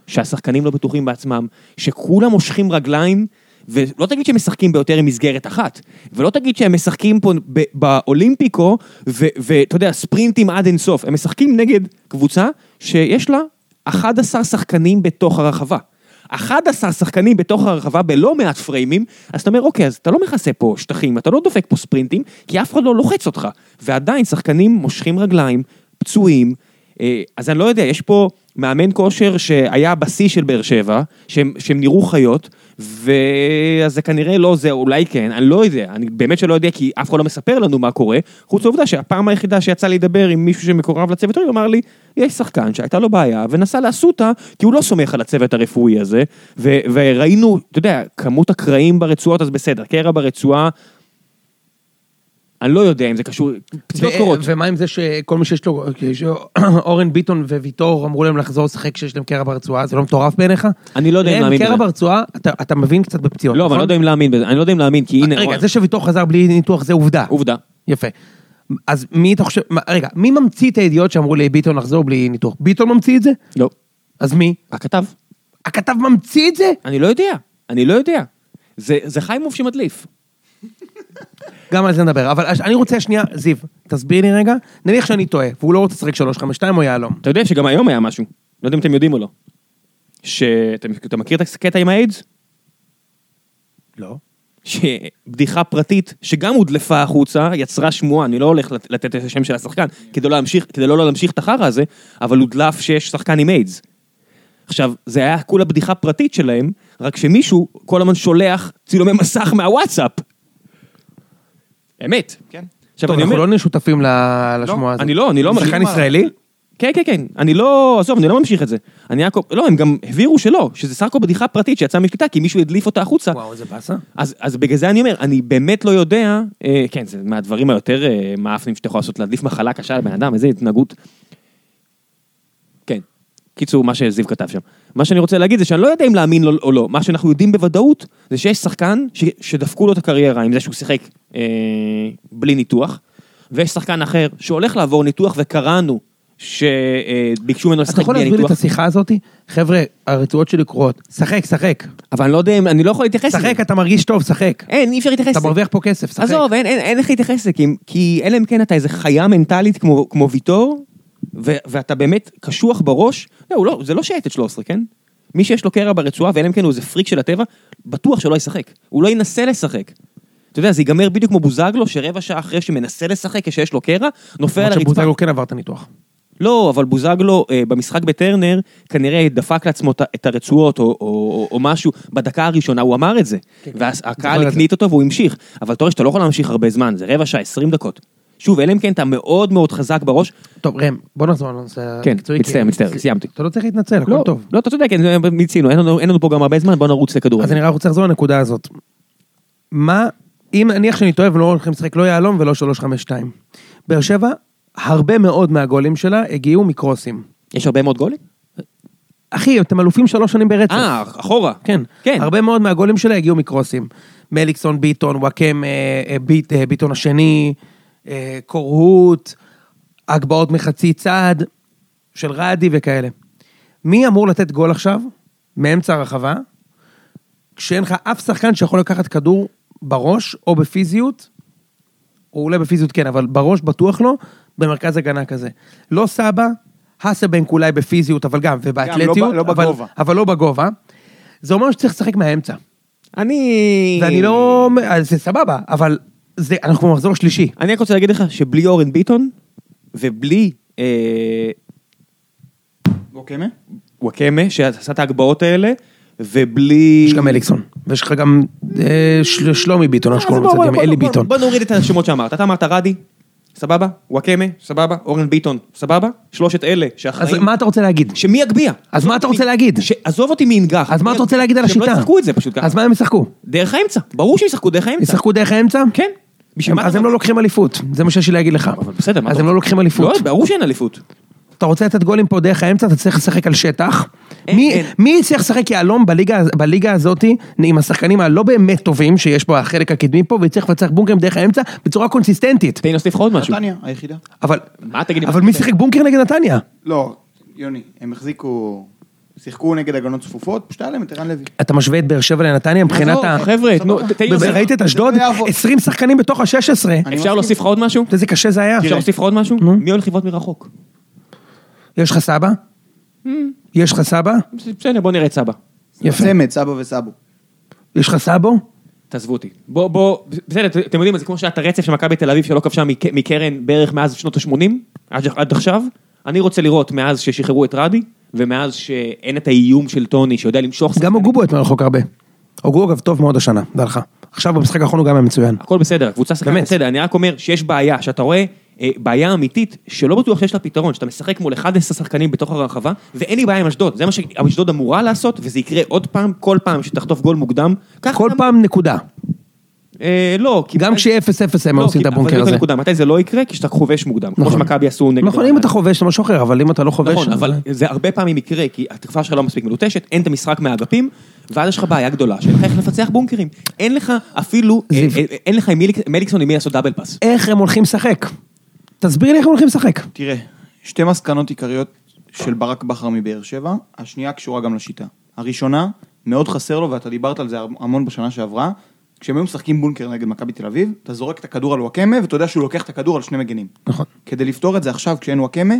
Speaker 1: שהשחקנים לא בטוחים בעצמם, שכולם מושכים רגליים, ולא תגיד שהם משחקים ביותר עם מסגרת אחת, ולא תגיד שהם משחקים פה ב- באולימפיקו, ו- ואתה יודע, ספרינטים עד אינסוף, הם משחקים נגד קבוצה שיש לה 11 שחקנים בתוך הרחבה. 11 שחקנים בתוך הרחבה בלא מעט פריימים, אז אתה אומר, אוקיי, אז אתה לא מכסה פה שטחים, אתה לא דופק פה ספרינטים, כי אף אחד לא לוחץ אותך. ועדיין שחקנים מושכים רגליים, פצועים, אה, אז אני לא יודע, יש פה מאמן כושר שהיה בשיא של באר שבע, שהם, שהם נראו חיות, ואז זה כנראה לא זה, אולי כן, אני לא יודע, אני באמת שלא יודע, כי אף אחד לא מספר לנו מה קורה, חוץ מהעובדה שהפעם היחידה שיצא לי לדבר עם מישהו שמקורב לצוות, הוא אמר לי, יש שחקן שהייתה לו בעיה, ונסע לאסותא, כי הוא לא סומך על הצוות הרפואי הזה, ו- וראינו, אתה יודע, כמות הקרעים ברצועות, אז בסדר, קרע ברצועה, אני לא יודע אם זה קשור, פציעות
Speaker 3: ו-
Speaker 1: קורות.
Speaker 3: ומה עם זה שכל מי שיש לו, שאורן ביטון וויטור אמרו להם לחזור לשחק כשיש להם קרע ברצועה, זה לא מטורף בעיניך?
Speaker 1: אני לא יודע אם
Speaker 3: ראם,
Speaker 1: להאמין
Speaker 3: קרע
Speaker 1: בזה.
Speaker 3: ברצועה, אתה- אתה מבין קצת בפציעות,
Speaker 1: לא, אבל
Speaker 3: נכון?
Speaker 1: אני לא יודע אם להאמין בזה, אני לא יודע אם להאמין, כי הנה,
Speaker 3: רגע, זה שוויטור חזר בלי ניתוח זה עובדה.
Speaker 1: עובדה.
Speaker 3: יפה. אז מי אתה חושב, מה- רגע, מי ממציא את הידיעות שאמרו לביטון לחזור בלי ניתוח? ביטון ממציא את זה?
Speaker 1: לא.
Speaker 3: אז מי?
Speaker 1: הכתב?
Speaker 3: הכתב ממציא את זה?
Speaker 1: אני לא יודע, אני לא יודע. זה, זה חיימוב שמדליף.
Speaker 3: גם על זה נדבר. אבל הש- אני רוצה שנייה, זיו, תסביר לי רגע, נניח שאני טועה, והוא לא רוצה לשחק 3-5-2 או יהלום.
Speaker 1: אתה יודע שגם היום היה משהו, לא יודע אם אתם יודעים או לא. שאתה אתה מכיר את הקטע עם האיידס?
Speaker 3: לא.
Speaker 1: שבדיחה פרטית שגם הודלפה החוצה, יצרה שמועה, אני לא הולך לת- לתת את השם של השחקן, כדי לא להמשיך, כדי לא להמשיך את החרא הזה, אבל הודלף שיש שחקן עם איידס. עכשיו, זה היה כולה בדיחה פרטית שלהם, רק שמישהו כל הזמן שולח צילומי מסך מהוואטסאפ. אמת.
Speaker 2: כן.
Speaker 1: עכשיו,
Speaker 3: טוב,
Speaker 1: אני
Speaker 3: אנחנו
Speaker 1: אומר...
Speaker 3: לא נהיה שותפים ל- לשמועה הזאת.
Speaker 1: אני לא, אני לא...
Speaker 3: שחקן
Speaker 1: אני-
Speaker 3: ישראלי?
Speaker 1: כן, כן, כן. אני לא... עזוב, אני לא ממשיך את זה. אני רק... לא, הם גם הבהירו שלא, שזה סך הכל בדיחה פרטית שיצאה משליטה, כי מישהו הדליף אותה החוצה.
Speaker 3: וואו, איזה באסה.
Speaker 1: אז, אז בגלל זה אני אומר, אני באמת לא יודע, אה, כן, זה מהדברים היותר אה, מאפנים שאתה יכול לעשות, להדליף מחלה קשה לבן אדם, איזה התנהגות. כן. קיצור, מה שזיו כתב שם. מה שאני רוצה להגיד זה שאני לא יודע אם להאמין לו או לא, מה שאנחנו יודעים בוודאות זה שיש שחקן ש, שדפקו לו את הקריירה עם זה שהוא שיחק אה, בלי ניתוח, ויש שחקן אחר שהולך לעבור ניתוח וקראנו שביקשו ממנו
Speaker 3: אתה
Speaker 1: לשחק
Speaker 3: יכול
Speaker 1: בלי
Speaker 3: להסביר לי
Speaker 1: ניתוח,
Speaker 3: את השיחה הזאת? חבר'ה, הרצועות שלי קרועות. שחק, שחק.
Speaker 1: אבל אני לא יודע אם, אני לא יכול להתייחס לזה.
Speaker 3: שחק, אתה מרגיש טוב, שחק.
Speaker 1: אין, אי אפשר להתייחס
Speaker 3: אתה
Speaker 1: לזה.
Speaker 3: מרוויח פה כסף, שחק.
Speaker 1: עזוב, אין, אין, אין איך להתייחס לזה, כי, כי אלא אם כן אתה איזה חיה מנטלית כמו, כמו ויטור, ו, ואתה באמת קשוח בראש, לא, הוא לא, זה לא שייטת 13, כן? מי שיש לו קרע ברצועה, ואלא אם כן הוא איזה פריק של הטבע, בטוח שלא ישחק. הוא לא ינסה לשחק. אתה יודע, זה ייגמר בדיוק כמו בוזגלו, שרבע שעה אחרי שמנסה לשחק, כשיש לו קרע, נופל על
Speaker 3: למרות
Speaker 1: הרצפה.
Speaker 3: שבוזגלו כן עבר את הניתוח.
Speaker 1: לא, אבל בוזגלו אה, במשחק בטרנר כנראה דפק לעצמו את ה- את הרצועות או, או, או, או משהו בדקה הראשונה, הוא אמר את זה. והקהל
Speaker 3: זוכר את כן. זה.
Speaker 1: הקנית אותו והוא המשיך. אבל אתה רואה שאתה לא יכול להמשיך הרבה זמן, זה רבע שעה, 20 דקות. שוב, אלא אם כן אתה מאוד מאוד חזק בראש.
Speaker 3: טוב, ראם, בוא נחזור לנושא
Speaker 1: כן,
Speaker 3: המקצועי,
Speaker 1: מצטער,
Speaker 3: כי-
Speaker 1: מצטער,
Speaker 3: סל-
Speaker 1: סיימתי.
Speaker 3: אתה לא צריך להתנצל, הכל
Speaker 1: לא,
Speaker 3: טוב.
Speaker 1: לא, אתה צודק, כן, מיצינו, אין לנו, אין לנו פה גם הרבה זמן, בוא נרוץ לכדור.
Speaker 3: אז אני רק רוצה לחזור לנקודה הזאת. מה, אם נניח שאני טועה ולא הולכים לשחק לא יהלום ולא 3-5-2. באר שבע, הרבה מאוד מהגולים שלה הגיעו מקרוסים.
Speaker 1: יש הרבה מאוד גולים?
Speaker 3: אחי, אתם אלופים שלוש שנים ברצף.
Speaker 1: אה, אחורה.
Speaker 3: כן.
Speaker 1: כן.
Speaker 3: הרבה מאוד מהגולים שלה הגיעו מקרוסים. מליקסון, ביטון, וואקם, אה, אה, ביט, אה, ביטון השני, אה, קורהוט, הגבהות מחצי צעד, של רדי וכאלה. מי אמור לתת גול עכשיו, מאמצע הרחבה, כשאין לך אף שחקן שיכול לקחת כדור בראש או בפיזיות? הוא אולי בפיזיות כן, אבל בראש בטוח לא, במרכז הגנה כזה. לא סבא, האסבנק אולי בפיזיות, אבל גם, ובאתלטיות,
Speaker 2: לא ב- לא
Speaker 3: אבל,
Speaker 2: בגובה.
Speaker 3: אבל לא בגובה. זה אומר שצריך לשחק מהאמצע.
Speaker 1: אני...
Speaker 3: ואני לא... אז זה סבבה, אבל זה, אנחנו במחזור שלישי.
Speaker 1: אני רק רוצה להגיד לך שבלי אורן ביטון, ובלי אה,
Speaker 2: וואקמה?
Speaker 1: וואקמה, שעשה את ההגבהות האלה, ובלי...
Speaker 3: יש גם אליקסון, ויש לך גם אה, של- שלומי ביטון, איך
Speaker 1: אז
Speaker 3: שקוראים
Speaker 1: אה, בוא, בוא,
Speaker 3: לצדדים,
Speaker 1: בוא,
Speaker 3: אלי
Speaker 1: בוא,
Speaker 3: ביטון.
Speaker 1: בוא נוריד את השמות שאמרת. אתה אמרת רדי, סבבה? וואקמה, סבבה? אורן ביטון, סבבה? שלושת אלה
Speaker 3: אז
Speaker 1: שאחראים...
Speaker 3: מה אתה רוצה להגיד?
Speaker 1: שמי יגביה?
Speaker 3: אז מה אתה רוצה
Speaker 1: מי-
Speaker 3: להגיד?
Speaker 1: ש- עזוב אותי מינגח.
Speaker 3: אז מה אתה רוצה להגיד על השיטה?
Speaker 1: שהם לא ישחקו את זה פשוט ככה.
Speaker 3: אז מה הם ישחקו?
Speaker 1: דרך האמצע. ברור שהם ישחקו דרך האמצע.
Speaker 3: ישחקו דרך האמצע?
Speaker 1: כן. בשביל
Speaker 3: הם-
Speaker 1: מה
Speaker 3: אז
Speaker 1: אתה-
Speaker 3: הם לא לוקחים אליפות, זה מה שיש לי להגיד לך.
Speaker 1: אבל בסדר, מה
Speaker 3: אז
Speaker 1: אתה
Speaker 3: הם לא
Speaker 1: רוצה?
Speaker 3: לוקחים אליפות.
Speaker 1: לא, ברור שאין אליפות.
Speaker 3: אתה רוצה לתת גולים פה דרך האמצע, אתה צריך לשחק על שטח.
Speaker 1: אין,
Speaker 3: מי-
Speaker 1: אין.
Speaker 3: מי הצליח לשחק יהלום בליגה- בליגה הזאתי, עם השחקנים הלא באמת טובים, שיש פה החלק הקדמי פה, והצליח לפצח בונקרים דרך האמצע, בצורה קונסיסטנטית.
Speaker 1: תן לי להוסיף לך עוד משהו.
Speaker 2: נתניה, היחידה.
Speaker 3: אבל...
Speaker 1: מה תגיד לי?
Speaker 3: אבל מי שיחק בונקר נגד נתניה?
Speaker 2: לא, יוני, הם החזיקו... שיחקו נגד הגנות צפופות, פשוט היה להם את ערן לוי.
Speaker 3: אתה משווה את באר שבע לנתניה מבחינת
Speaker 1: עזוב,
Speaker 3: ה...
Speaker 1: חבר'ה, תנו-
Speaker 2: סבבה.
Speaker 1: תן לי להוסיף-
Speaker 3: ראית את
Speaker 2: זה לא
Speaker 3: אשדוד?
Speaker 2: יעבוד.
Speaker 3: 20 שחקנים בתוך ה-16. אתה
Speaker 2: אני
Speaker 1: אפשר
Speaker 2: מסכים.
Speaker 1: להוסיף לך עוד משהו?
Speaker 3: יודע איזה קשה זה היה?
Speaker 1: אפשר להוסיף לך עוד משהו? מי הולך לבעוט מרחוק?
Speaker 3: יש לך סבא?
Speaker 2: Mm.
Speaker 3: יש לך סבא?
Speaker 1: בסדר, בוא נראה את סבא.
Speaker 3: יפה.
Speaker 2: צמד, סבא וסבו.
Speaker 3: יש לך סבו?
Speaker 1: תעזבו אותי. בוא, בוא, בסדר, את- אתם יודעים, זה כמו שהיה את הרצף של מכבי תל אביב שלא כבשה מק- מקרן בערך מאז שנות ה-80, עד, עד עכשיו. אני רוצה לראות מאז ששחררו את רדי, ומאז שאין את האיום של טוני שיודע למשוך...
Speaker 3: גם הוגו בועט מרחוק הרבה. הוגו אגב טוב מאוד השנה, דע לך. עכשיו במשחק האחרון הוא גם היה מצוין.
Speaker 1: הכל בסדר, הקבוצה שחקה
Speaker 3: באמת.
Speaker 1: בסדר, אני רק אומר שיש בעיה, שאתה רואה אה, בעיה אמיתית, שלא בטוח שיש לה פתרון, שאתה משחק מול 11 שחקנים בתוך הרחבה, ואין לי בעיה עם אשדוד, זה מה שאשדוד אמורה לעשות, וזה יקרה עוד פעם, כל פעם שתחטוף גול מוקדם. כך
Speaker 3: כל
Speaker 1: גם-
Speaker 3: פעם נקודה.
Speaker 1: אה, לא, כי...
Speaker 3: גם כשיהיה 0-0 הם
Speaker 1: לא,
Speaker 3: עושים
Speaker 1: כי-
Speaker 3: את הבונקר
Speaker 1: אבל זאת
Speaker 3: הזה.
Speaker 1: הנקודה, מתי זה לא יקרה? כשאתה חובש מוקדם, כמו
Speaker 3: נכון.
Speaker 1: שמכבי עשו נגד...
Speaker 3: נכון, אם אתה חובש אתה משהו אחר, אבל אם אתה לא חובש...
Speaker 1: נכון, אבל
Speaker 3: אז-
Speaker 1: זה הרבה פעמים יקרה, כי התקפה שלך לא מספיק מלוטשת, אין את המשחק מהאגפים, ואז יש לך בעיה גדולה, שאין לך איך לפצח בונקרים. אין לך אפילו, אה,
Speaker 3: זיו.
Speaker 1: אה, אין לך עם מיליק- מליקסון עם מי לעשות דאבל פאס.
Speaker 3: איך הם הולכים לשחק? תסביר לי איך הם הולכים לשחק.
Speaker 2: תראה, שתי מסקנות עיקריות של ברק בכר מבאר שבע, השנייה קשורה גם לשיטה. הראשונה, מאוד חסר לו, ואתה דיברת על זה המון בשנה שעברה, כשהם היו משחקים בונקר נגד מכבי תל אביב, אתה זורק את הכדור על וואקמה, ואתה יודע שהוא לוקח את הכדור על שני מגנים.
Speaker 3: נכון.
Speaker 2: כדי לפתור את זה עכשיו, כשאין וואקמה,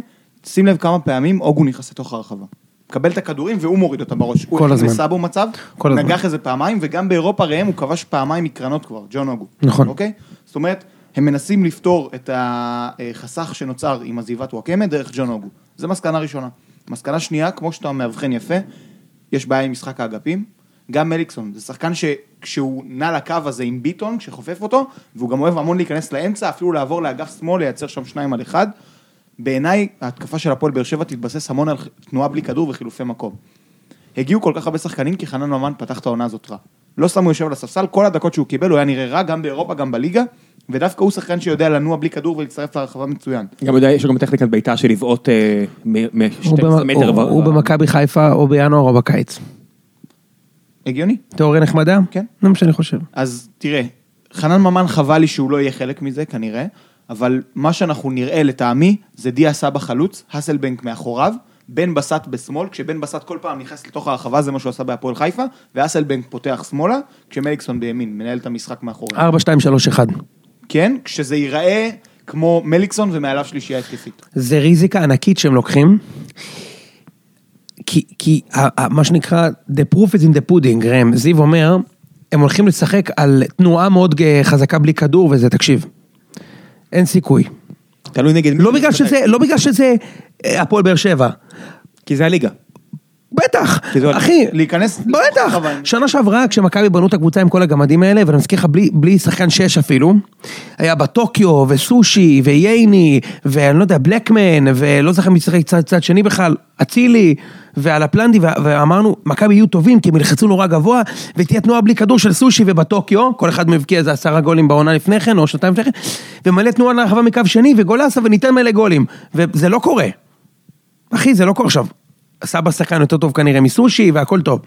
Speaker 2: שים לב כמה פעמים אוגו נכנס לתוך הרחבה. מקבל את הכדורים והוא מוריד אותם בראש.
Speaker 3: כל
Speaker 2: הוא
Speaker 3: הזמן.
Speaker 2: הוא לסאבו מצב,
Speaker 3: כל הזמן.
Speaker 2: נגח איזה פעמיים, וגם באירופה ראם הוא כבש פעמיים מקרנות כבר, ג'ון אוגו.
Speaker 3: נכון.
Speaker 2: אוקיי? זאת אומרת, הם מנסים לפתור את החסך שנוצר עם עזיבת וואקמה דרך ג'ון אוגו. זו מסקנה ראשונה. מסקנה שנייה, כמו שאתה מאבחן יפה, יש בעיה עם משחק האגפים. גם מליקסון, זה שחקן שכשהוא נע לקו הזה עם ביטון, כשחופף אותו, והוא גם אוהב המון להיכנס לאמצע, אפילו לעבור לאגף שמאל, לייצר שם שניים על אחד. בעיניי, ההתקפה של הפועל באר שבע תתבסס המון על תנועה בלי כדור וחילופי מקום. הגיעו כל כך הרבה שחקנים כי חנן ממן פתח את העונה הזאת רע. לא סתם הוא יושב על הספסל, כל הדקות שהוא קיבל הוא היה נראה רע גם באירופה, גם בליגה, ודווקא הוא שחקן שיודע לנוע בלי כדור ולהצטרף לרחבה מצוין.
Speaker 1: גם יודע, יש לו גם טכניקת בעיטה של לבעוט אה, מ-
Speaker 3: הוא
Speaker 1: מ-12
Speaker 3: במ-
Speaker 1: מטר.
Speaker 3: הוא-
Speaker 1: ו-
Speaker 3: הוא במכבי חיפה או בינואר או בקיץ.
Speaker 2: הגיוני?
Speaker 3: תיאוריה נחמדה?
Speaker 2: כן.
Speaker 3: זה מה שאני חושב.
Speaker 2: אז תראה, חנן ממן חבל לי שהוא לא יהיה חלק מזה כנראה, אבל מה שאנחנו נראה לטעמי זה דיה סבא חלוץ, האסלבנק מאחוריו, בן בסט בשמאל, כשבן בסט כל פעם נכנס לתוך הרחבה זה מה שהוא עשה בהפועל חיפה, והאסלבנק פותח שמאלה, כשמליקסון בימין מנהל את המשחק מאחוריו.
Speaker 3: 4, 2, 3, 1.
Speaker 2: כן? כשזה ייראה כמו מליקסון ומעליו שלישייה התקפית.
Speaker 3: זה ריזיקה ענקית שהם לוקחים. כי, כי ה- ה- מה שנקרא, the proof is in the pudding, ראם, זיו אומר, הם הולכים לשחק על תנועה מאוד אה, חזקה בלי כדור וזה, תקשיב, אין סיכוי.
Speaker 1: תלוי נגד מי.
Speaker 3: לא בגלל שזה, לא בגלל שזה אה, הפועל באר שבע.
Speaker 1: כי זה הליגה.
Speaker 3: בטח,
Speaker 1: כי זה-
Speaker 3: אחי,
Speaker 2: להיכנס-
Speaker 3: בטח,
Speaker 2: אבל-
Speaker 3: שנה שעברה כשמכבי בנו את הקבוצה עם כל הגמדים האלה, ואני מזכיר לך בלי, בלי שחקן שש אפילו, היה בה טוקיו וסושי וייני, ואני לא יודע, בלקמן, ולא זוכר מי שיחק צד, צד שני בכלל, אצילי, ואלפלנדי, ו- ואמרנו, מכבי יהיו טובים כי הם ילחצו נורא גבוה, ותהיה תנועה בלי כדור של סושי ובטוקיו, כל אחד מבקיע איזה עשרה גולים בעונה לפני כן, או שנתיים לפני כן, ומלא תנועה לרחבה מקו שני, וגולסה וניתן מלא גולים, וזה לא קורה. אחי, זה לא קורה עכשיו. סבא שחקן יותר טוב כנראה מסושי והכל טוב.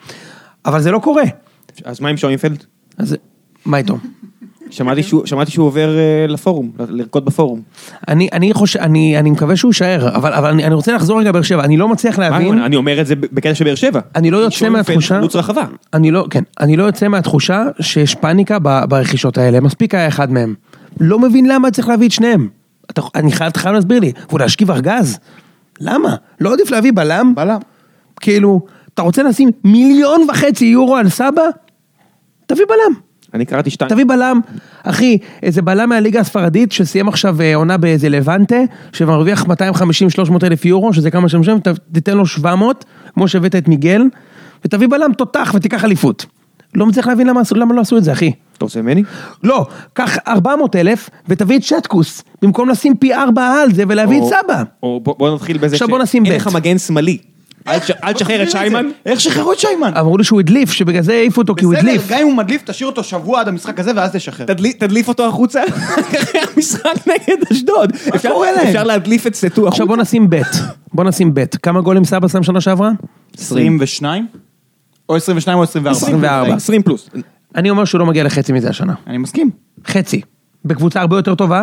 Speaker 3: אבל זה לא קורה.
Speaker 1: אז מה עם שוינפלד?
Speaker 3: אז מה איתו?
Speaker 1: שמעתי שהוא- שמעתי שהוא עובר אה, לפורום, ל- לרקוד בפורום.
Speaker 3: אני, אני חושב, אני, אני מקווה שהוא יישאר, אבל, אבל אני, אני רוצה לחזור רגע לבאר שבע, אני לא מצליח
Speaker 1: מה,
Speaker 3: להבין,
Speaker 1: אני אומר את זה בקטע של באר שבע.
Speaker 3: אני לא יוצא
Speaker 1: שוינפלד
Speaker 3: מהתחושה,
Speaker 1: חלוץ רחבה.
Speaker 3: אני לא, כן, אני לא יוצא מהתחושה שיש פאניקה ב, ברכישות האלה, מספיק היה אחד מהם. לא מבין למה צריך להביא את שניהם. אתה, אני חייב, אתה חייב להסביר לי, ולהשכיב ארגז? למה? לא עדיף להביא בלם?
Speaker 2: בלם.
Speaker 3: כאילו, אתה רוצה לשים מיליון וחצי יורו על סבא? תביא בלם.
Speaker 1: אני קראתי שתיים.
Speaker 3: תביא בלם, אחי, איזה בלם מהליגה הספרדית שסיים עכשיו אה, עונה באיזה לבנטה, שמרוויח 250-300 אלף יורו, שזה כמה שם שם, ת- תיתן לו 700, כמו שהבאת את מיגל, ותביא בלם תותח ותיקח אליפות. לא מצליח להבין למה, עשו- למה לא עשו את זה, אחי.
Speaker 1: אתה רוצה ממני?
Speaker 3: לא, קח 400 אלף ותביא את שטקוס, במקום לשים פי 4 על זה ולהביא
Speaker 1: או-
Speaker 3: את סבא.
Speaker 1: או בוא בוא נתחיל בזה
Speaker 3: עכשיו בוא נשים
Speaker 1: אין
Speaker 3: בית.
Speaker 1: לך מגן שמאלי. אל תש- אל תשחרר את שיימן.
Speaker 2: איך שחררו את שיימן?
Speaker 3: אמרו לי שהוא הדליף, שבגלל זה העיפו אותו כי הוא
Speaker 2: בסדר,
Speaker 3: הדליף.
Speaker 2: גם אם הוא מדליף, תשאיר אותו שבוע עד המשחק הזה ואז תשחרר.
Speaker 1: תדלי- תדליף אותו החוצה אחרי המשחק נגד אשדוד. אפשר-
Speaker 2: קורה להם?
Speaker 1: אפשר להדליף את סטו
Speaker 3: עכשיו
Speaker 1: החוצה.
Speaker 3: בוא נשים בית, בוא נשים בית. כמה גולים סבא שם שנה שעברה?
Speaker 2: 22? או 22 או 24.
Speaker 3: 24.
Speaker 1: 20 פלוס.
Speaker 3: אני אומר שהוא לא מגיע לחצי מזה השנה.
Speaker 2: אני מסכים.
Speaker 3: חצי. בקבוצה הרבה יותר טובה,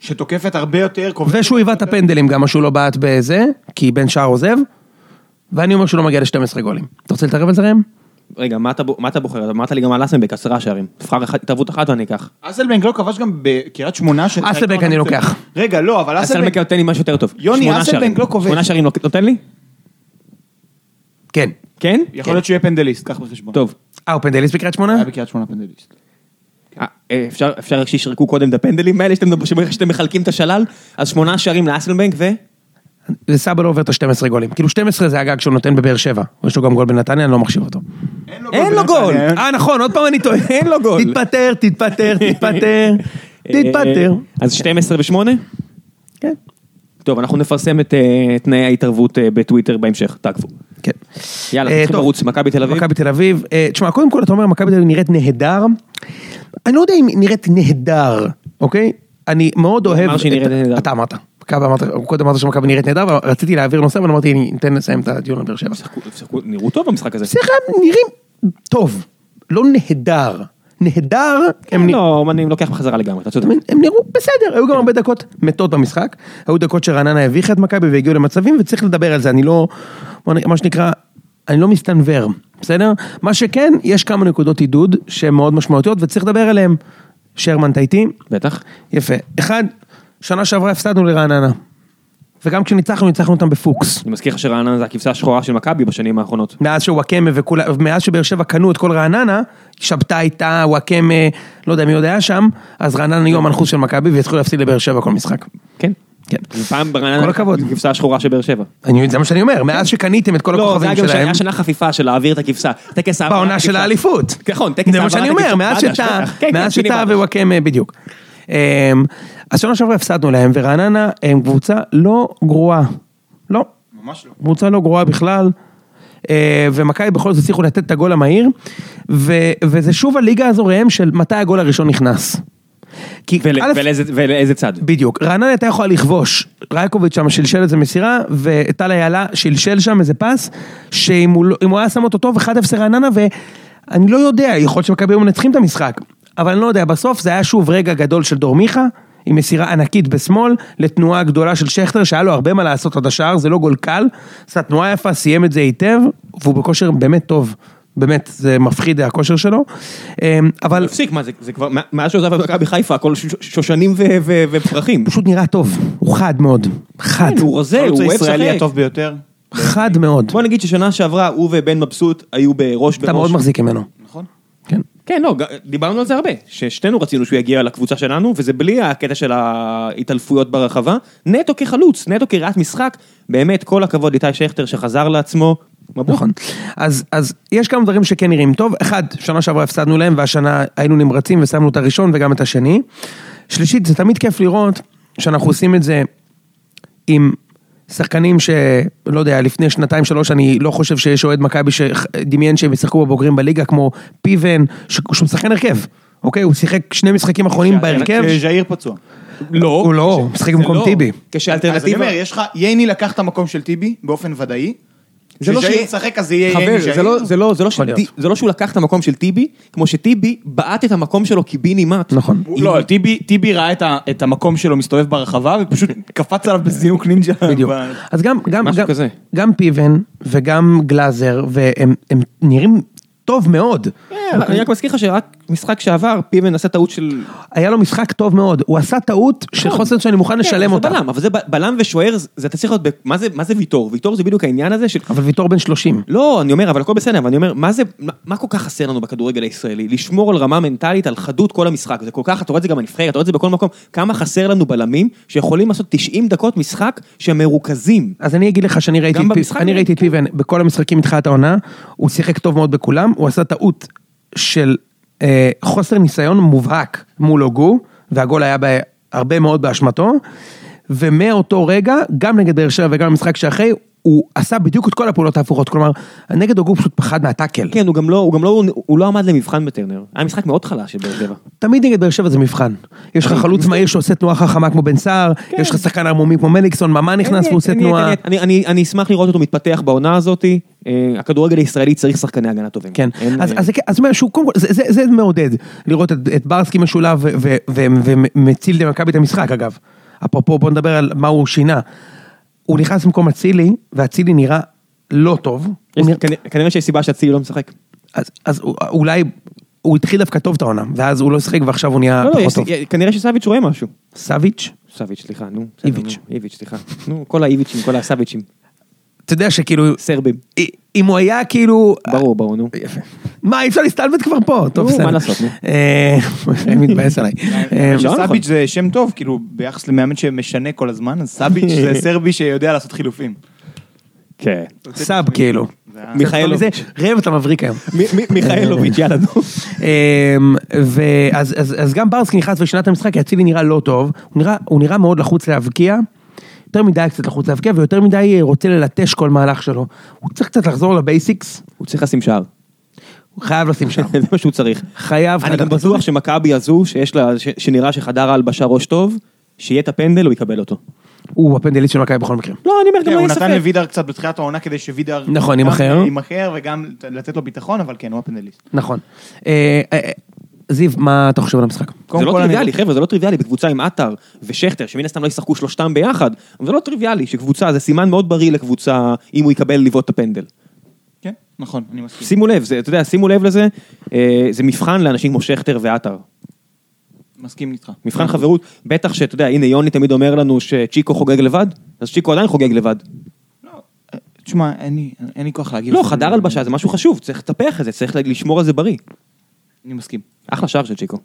Speaker 2: שתוקפת הרבה יותר, כובשת.
Speaker 3: ושהוא היווה את הפנדלים גם, מה שהוא לא בעט בזה, כי בן שער עוזב, ואני אומר שהוא לא מגיע ל-12 גולים. אתה רוצה להתערב על זה ראם?
Speaker 1: רגע, מה אתה בו- מה אתה בוחר? אמרת לי גם על אסנבק, עשרה שערים. תבחר אחת- התערבות אחת ואני אקח.
Speaker 2: אסלבנק לא כבש גם בקריית שמונה. ש-
Speaker 3: אסלבנק אני לוקח.
Speaker 2: רגע, לא, אבל אסלבנק...
Speaker 1: אסנבק נותן לי משהו יותר טוב.
Speaker 2: יוני,
Speaker 1: שמונה
Speaker 2: אסלבנק
Speaker 1: שערים.
Speaker 2: לא כובש.
Speaker 1: שמונה שערים לא- נותן לי?
Speaker 3: כן.
Speaker 1: כן?
Speaker 2: יכול להיות שהוא יהיה פנדליסט, קח בחשבון.
Speaker 1: טוב.
Speaker 3: אה, הוא פנדליסט בקריית שמונה?
Speaker 2: היה בקריית שמונה פנדליסט.
Speaker 1: אה, אה, אפשר אפשר רק שישרקו קודם את הפנדלים האלה שאתם שאתם מחלקים את השלל? אז שמונה שערים לאסנבנק ו...
Speaker 3: וסבא לא עובר את ה-12 גולים. כאילו 12 זה הגג שהוא נותן בבאר שבע. יש לו גם גול בנתניה, אני לא מחשיב אותו.
Speaker 1: אין לו גול.
Speaker 2: בנתניה.
Speaker 3: אה, נכון, עוד פעם אני טועה.
Speaker 1: אין לו גול.
Speaker 3: תתפטר, תתפטר, תתפטר, תתפטר.
Speaker 1: אה, אז 12 ו-8?
Speaker 3: כן.
Speaker 1: טוב, אנחנו נפרסם את אה, תנאי ההתערבות אה, בטוויטר בהמשך, תעקבו.
Speaker 3: כן.
Speaker 1: יאללה,
Speaker 3: אה,
Speaker 1: נתחיל
Speaker 3: טוב.
Speaker 1: לרוץ, מכבי תל אביב.
Speaker 3: מכבי תל אביב. אה, תשמע, קודם כל אתה אומר מכבי תל אביב נראית נהדר. אני לא יודע אם היא נראית נהדר, אוקיי? אני מאוד אוהב...
Speaker 1: אמר שהיא
Speaker 3: את-
Speaker 1: נראית נהדר.
Speaker 3: אתה אמרת. מכבי אמרת, קודם אמרת שמכבי נראית נהדר, אבל רציתי להעביר נושא, אבל אמרתי, אני אתן לסיים את הדיון על באר שבע.
Speaker 1: שיחקו- שיחקו- נראו טוב במשחק הזה.
Speaker 3: סליחה, הם נראים טוב, לא נהדר. נהדר, הם נ-
Speaker 1: לא, אני לוקח בחזרה לגמרי, אתה צודק.
Speaker 3: אתה מבין? הם נראו בסדר, היו גם הרבה דקות מתות במשחק, היו דקות שרעננה הביכה את מכבי והגיעו למצבים וצריך לדבר על זה, אני לא, מה נ- מה שנקרא, אני לא מסתנוור, בסדר? מה שכן, יש כמה נקודות עידוד שהן מאוד משמעותיות וצריך לדבר עליהן. שרמן, אתה איתי?
Speaker 1: בטח.
Speaker 3: יפה. אחד, שנה שעברה הפסדנו לרעננה. וגם כשניצחנו, ניצחנו אותם בפוקס.
Speaker 1: אני מזכיר לך שרעננה זה הכבשה השחורה של מכבי בשנים האחרונות.
Speaker 3: מאז שוואקמה וכולם, מאז שבאר שבע קנו את כל רעננה, שבתאי הייתה, וואקמה, לא יודע מי עוד היה שם, אז רעננה היו המנחוס של מכבי והתחילו להפסיד לבאר שבע כל משחק.
Speaker 1: כן.
Speaker 3: כן.
Speaker 1: פעם ברעננה,
Speaker 3: כל הכבוד.
Speaker 1: הכבשה השחורה של באר שבע.
Speaker 3: אני, זה מה שאני אומר, מאז שקניתם את כל
Speaker 1: כן. לא, זה
Speaker 3: הכוכבים
Speaker 1: היה גם
Speaker 3: שלהם,
Speaker 1: שהיה שנה חפיפה של להעביר את הכבשה. טקס העברת
Speaker 3: בעונה של
Speaker 1: הכבשה.
Speaker 3: האליפות.
Speaker 1: נכון, טקס
Speaker 3: זה מה שאני
Speaker 1: העברת
Speaker 3: אומר,
Speaker 1: הכבשה.
Speaker 3: מאז
Speaker 1: בטח,
Speaker 3: שטעה,
Speaker 1: בטח. כן, כן,
Speaker 3: מאז
Speaker 1: פיני
Speaker 3: שטעה
Speaker 1: בדש.
Speaker 3: ווואקמה, בדיוק. אמ, אז שנה שעברה הפסדנו להם, ורעננה הם קבוצה לא גרועה. לא.
Speaker 2: ממש לא.
Speaker 3: קבוצה לא גרועה בכלל. אה, ומכבי בכל זאת הצליחו לתת את הגול המהיר, ו- וזה שוב הליגה הזו ראם של מתי הגול הראשון נכנס. כי
Speaker 1: ול-
Speaker 3: א',
Speaker 1: ולאיזה- ולאיזה צד?
Speaker 3: בדיוק, רעננה הייתה יכולה לכבוש, רייקוביץ' שם שלשל איזה מסירה, וטל איילה שלשל שם איזה פס, שאם הוא, לא- אם הוא היה שם אותו טוב, 1-0 רעננה, ואני לא יודע, יכול להיות שמכבי היו מנצחים את המשחק, אבל אני לא יודע, בסוף זה היה שוב רגע גדול של דור מיכה, עם מסירה ענקית בשמאל, לתנועה גדולה של שכטר, שהיה לו הרבה מה לעשות עד השער, זה לא גול קל, עשה תנועה יפה, סיים את זה היטב, והוא בכושר באמת טוב. באמת, זה מפחיד הכושר שלו, אה, אבל
Speaker 1: תפסיק, מה זה- זה כבר, מה- מאז שהוא עזב את מכבי חיפה, הכל ש- ש- שושנים ו- ו- ופרחים.
Speaker 3: הוא פשוט נראה טוב, הוא חד מאוד, חד.
Speaker 1: כן, הוא רזה,
Speaker 2: חלוץ
Speaker 1: הוא אוהב
Speaker 2: הישראלי
Speaker 1: לשחק.
Speaker 2: הטוב ביותר.
Speaker 3: חד מאוד.
Speaker 1: בוא נגיד ששנה שעברה הוא ובן מבסוט היו בראש בראש.
Speaker 3: אתה מאוד מחזיק ממנו.
Speaker 2: נכון.
Speaker 3: כן.
Speaker 1: כן, לא, ג- דיברנו על זה הרבה, ששתינו רצינו שהוא יגיע לקבוצה שלנו, וזה בלי הקטע של ההתעלפויות ברחבה, נטו כחלוץ, נטו כרעת משחק, באמת, כל הכבוד איתי שכטר שחזר לעצמו, מברוק.
Speaker 3: נכון. אז, אז יש כמה דברים שכן נראים טוב. אחד, שנה שעברה הפסדנו להם, והשנה היינו נמרצים ושמנו את הראשון וגם את השני. שלישית, זה תמיד כיף לראות שאנחנו עושים את זה עם שחקנים שלא יודע, לפני שנתיים שלוש אני לא חושב שיש אוהד מכבי שדמיין שהם ישחקו בבוגרים בליגה, כמו פיבן, ש... שהוא שחקן הרכב. אוקיי, הוא שיחק שני משחקים אחרונים בהרכב.
Speaker 2: אה, ז'איר פצוע.
Speaker 1: לא,
Speaker 3: הוא לא, משחק במקום טיבי.
Speaker 2: אז אני
Speaker 1: כשאלטרנטיבה,
Speaker 2: אומר, יש לך, ייני לקח את המקום של טיבי באופן ודאי.
Speaker 1: זה לא
Speaker 2: כשז'איר
Speaker 1: ש-
Speaker 2: ישחק אז זה יהיה ייני
Speaker 1: חבר,
Speaker 2: ז'איר.
Speaker 1: זה לא- זה לא- זה לא
Speaker 3: יכול להיות.
Speaker 1: שטי- זה לא שהוא לקח את המקום של טיבי, כמו שטיבי בעט את המקום שלו קיבינימט.
Speaker 3: נכון.
Speaker 2: הוא- לא, טיבי- טיבי ראה את ה- את המקום שלו מסתובב ברחבה ופשוט קפץ עליו בזינוק נינג'ה. אה,
Speaker 3: בדיוק.
Speaker 2: ב-
Speaker 3: אז גם, גם,
Speaker 1: משהו
Speaker 3: גם,
Speaker 1: כזה.
Speaker 3: גם פיבן וגם גלאזר, והם הם נראים טוב מאוד.
Speaker 1: כן, אני רק מזכיר לך שרק משחק שעבר, פיבן עשה טעות של...
Speaker 3: היה לו משחק טוב מאוד, הוא עשה טעות של חוסר שאני מוכן לשלם אותה.
Speaker 1: זה בלם, נכון. כן, אבל זה ב- בלם ושוער, זה- זה אתה צריך להיות... ב- מה זה- מה זה ויטור? ויטור זה בדיוק העניין הזה של...
Speaker 3: אבל ויטור בן 30.
Speaker 1: לא, אני אומר, אבל הכל בסדר, אבל אני אומר, מה זה, מה- מה כל כך חסר לנו בכדורגל הישראלי? לשמור על רמה מנטלית, על חדות כל המשחק, זה כל כך, אתה רואה את זה גם בנבחרת, אתה רואה את זה בכל מקום, כמה חסר לנו בלמים שיכולים לעשות 90 דקות משחק שהם מרוכזים.
Speaker 3: אז אני אגיד לך שאני ראיתי,
Speaker 1: גם
Speaker 3: את, פי-
Speaker 1: במשחק
Speaker 3: אני
Speaker 1: הזה?
Speaker 3: ראיתי את פיבן בכל המשחקים מתחילת העונה, הוא שיחק טוב מאוד בכולם, הוא עשה טעות של אה, חוסר ניסיון מובהק מול הוגו, והגול היה בה, הרבה מאוד באשמתו, ומאותו רגע, גם נגד באר שבע וגם במשחק שאחרי, הוא עשה בדיוק את כל הפעולות ההפוכות, כלומר, נגד הוגו הוא פשוט פחד מהטאקל.
Speaker 1: כן, הוא גם לא, הוא גם לא, הוא לא עמד למבחן בטרנר. היה משחק מאוד חלש של באר שבע.
Speaker 3: תמיד נגד באר שבע זה מבחן. יש לך
Speaker 1: כן,
Speaker 3: חלוץ מהיר שעושה תנועה חכמה כמו בן סער, יש לך שחקן ערמומי כמו מליקסון, ממן נכנס
Speaker 1: אין
Speaker 3: ועושה
Speaker 1: לי- אין לי-
Speaker 3: תנועה.
Speaker 1: אין לי- אני- אני- אני אשמח לראות אותו מתפתח בעונה הזאת. אה, הכדורגל הישראלי צריך שחקני הגנה טובים.
Speaker 3: כן,
Speaker 1: אין,
Speaker 3: אז
Speaker 1: אה,
Speaker 3: אז זה כן, אז אומר שהוא, קודם כל, זה- זה זה מעודד, לראות את את ברסקי משולב ו- ו- ו- ומציל למכבי את המשחק אגב. אפרופו, בוא נדבר על מה הוא שינה. הוא נכנס במקום אצילי, ואצילי נראה לא טוב.
Speaker 1: יש-
Speaker 3: הוא נרא-
Speaker 1: כנ- כנראה שיש סיבה שאצילי לא משחק.
Speaker 3: אז- אז הוא- אולי, הוא התחיל דווקא טוב את העונה, ואז הוא לא שיחק ועכשיו הוא נהיה
Speaker 1: לא, לא,
Speaker 3: פחות
Speaker 1: יש-
Speaker 3: טוב.
Speaker 1: כנראה שסביץ' רואה משהו.
Speaker 3: סביץ',
Speaker 1: סביץ', סליחה, נו. בסדר,
Speaker 3: איביץ'.
Speaker 1: נו, איביץ', סליחה. נו, כל האיביץ'ים, כל הסביץ'ים.
Speaker 3: אתה יודע שכאילו,
Speaker 1: סרבים.
Speaker 3: אם הוא היה כאילו,
Speaker 1: ברור, ברור, נו.
Speaker 3: יפה. מה, אי אפשר להסתלבט כבר פה? טוב,
Speaker 1: נו,
Speaker 3: בסדר.
Speaker 1: מה לעשות, נו?
Speaker 3: אה, אני מתבאס עליי. אה,
Speaker 1: לא נכון.
Speaker 2: סביץ' זה שם טוב, כאילו, ביחס למאמן שמשנה כל הזמן, אז סביץ' זה סרבי שיודע לעשות חילופים.
Speaker 1: אה, כן.
Speaker 3: סאב כאילו.
Speaker 1: מיכאלוביץ'.
Speaker 3: זה- ראם, אתה מבריק היום.
Speaker 1: מיכאלוביץ', יאללה, נו.
Speaker 3: אמ, ואז אז, אז גם ברסקי נכנס ושינה את המשחק, כי אצילי נראה לא טוב, הוא נראה, הוא נראה מאוד לחוץ להבקיע, יותר מדי קצת לחוץ להבקיע, ויותר מדי אה, רוצה ללטש כל מהלך שלו. הוא צריך קצת לחזור לבייסיקס,
Speaker 1: הוא צריך לשים שער.
Speaker 3: הוא חייב לשים שם.
Speaker 1: זה מה שהוא צריך.
Speaker 3: חייב,
Speaker 1: אני לא-
Speaker 3: חייב.
Speaker 1: גם בטוח שמכבי הזו, שיש לה, ש- שנראה שחדר ההלבשה ראש טוב, שיהיה את הפנדל, הוא יקבל אותו.
Speaker 3: הוא הפנדליסט של מכבי בכל מקרה.
Speaker 1: לא, אני אומר,
Speaker 2: כן,
Speaker 1: גם לא
Speaker 2: הוא
Speaker 1: יהיה
Speaker 2: נתן
Speaker 1: ספק.
Speaker 2: לוידר קצת בתחילת העונה כדי שווידר...
Speaker 3: נכון,
Speaker 2: גם
Speaker 3: יימכר.
Speaker 2: יימכר וגם לתת לו ביטחון, אבל כן, הוא הפנדליסט.
Speaker 3: נכון. אה, אה, אה, זיו, מה אתה חושב על המשחק?
Speaker 1: זה
Speaker 2: קודם
Speaker 1: לא
Speaker 2: כל אני-
Speaker 1: טריוויאלי, חבר'ה, זה לא טריוויאלי, בקבוצה עם עטר ושכטר, שמן הסתם לא ישחקו שלושתם ביחד, אבל זה לא טריוויאלי, שקבוצה, זה סימן מאוד בריא לקבוצה, אם הוא יקבל לבעוט את הפנדל.
Speaker 2: כן, נכון, אני מסכים.
Speaker 1: שימו לב, זה, אתה יודע, שימו לב לזה, אה, זה מבחן לאנשים כמו שכטר ועטר.
Speaker 2: מסכים איתך.
Speaker 1: מבחן חברות, בטח שאתה יודע, הנה יוני תמיד אומר לנו שצ'יקו חוגג לבד, אז צ'יקו עדיין חוגג לבד.
Speaker 2: תשמע, אין לי- אין לי כוח להגיב.
Speaker 1: לא, חדר הלבשה זה משהו חשוב, צריך לטפח את זה, צריך לשמור על זה בריא.
Speaker 2: אני מסכים.
Speaker 1: אחלה שער של צ'יקו.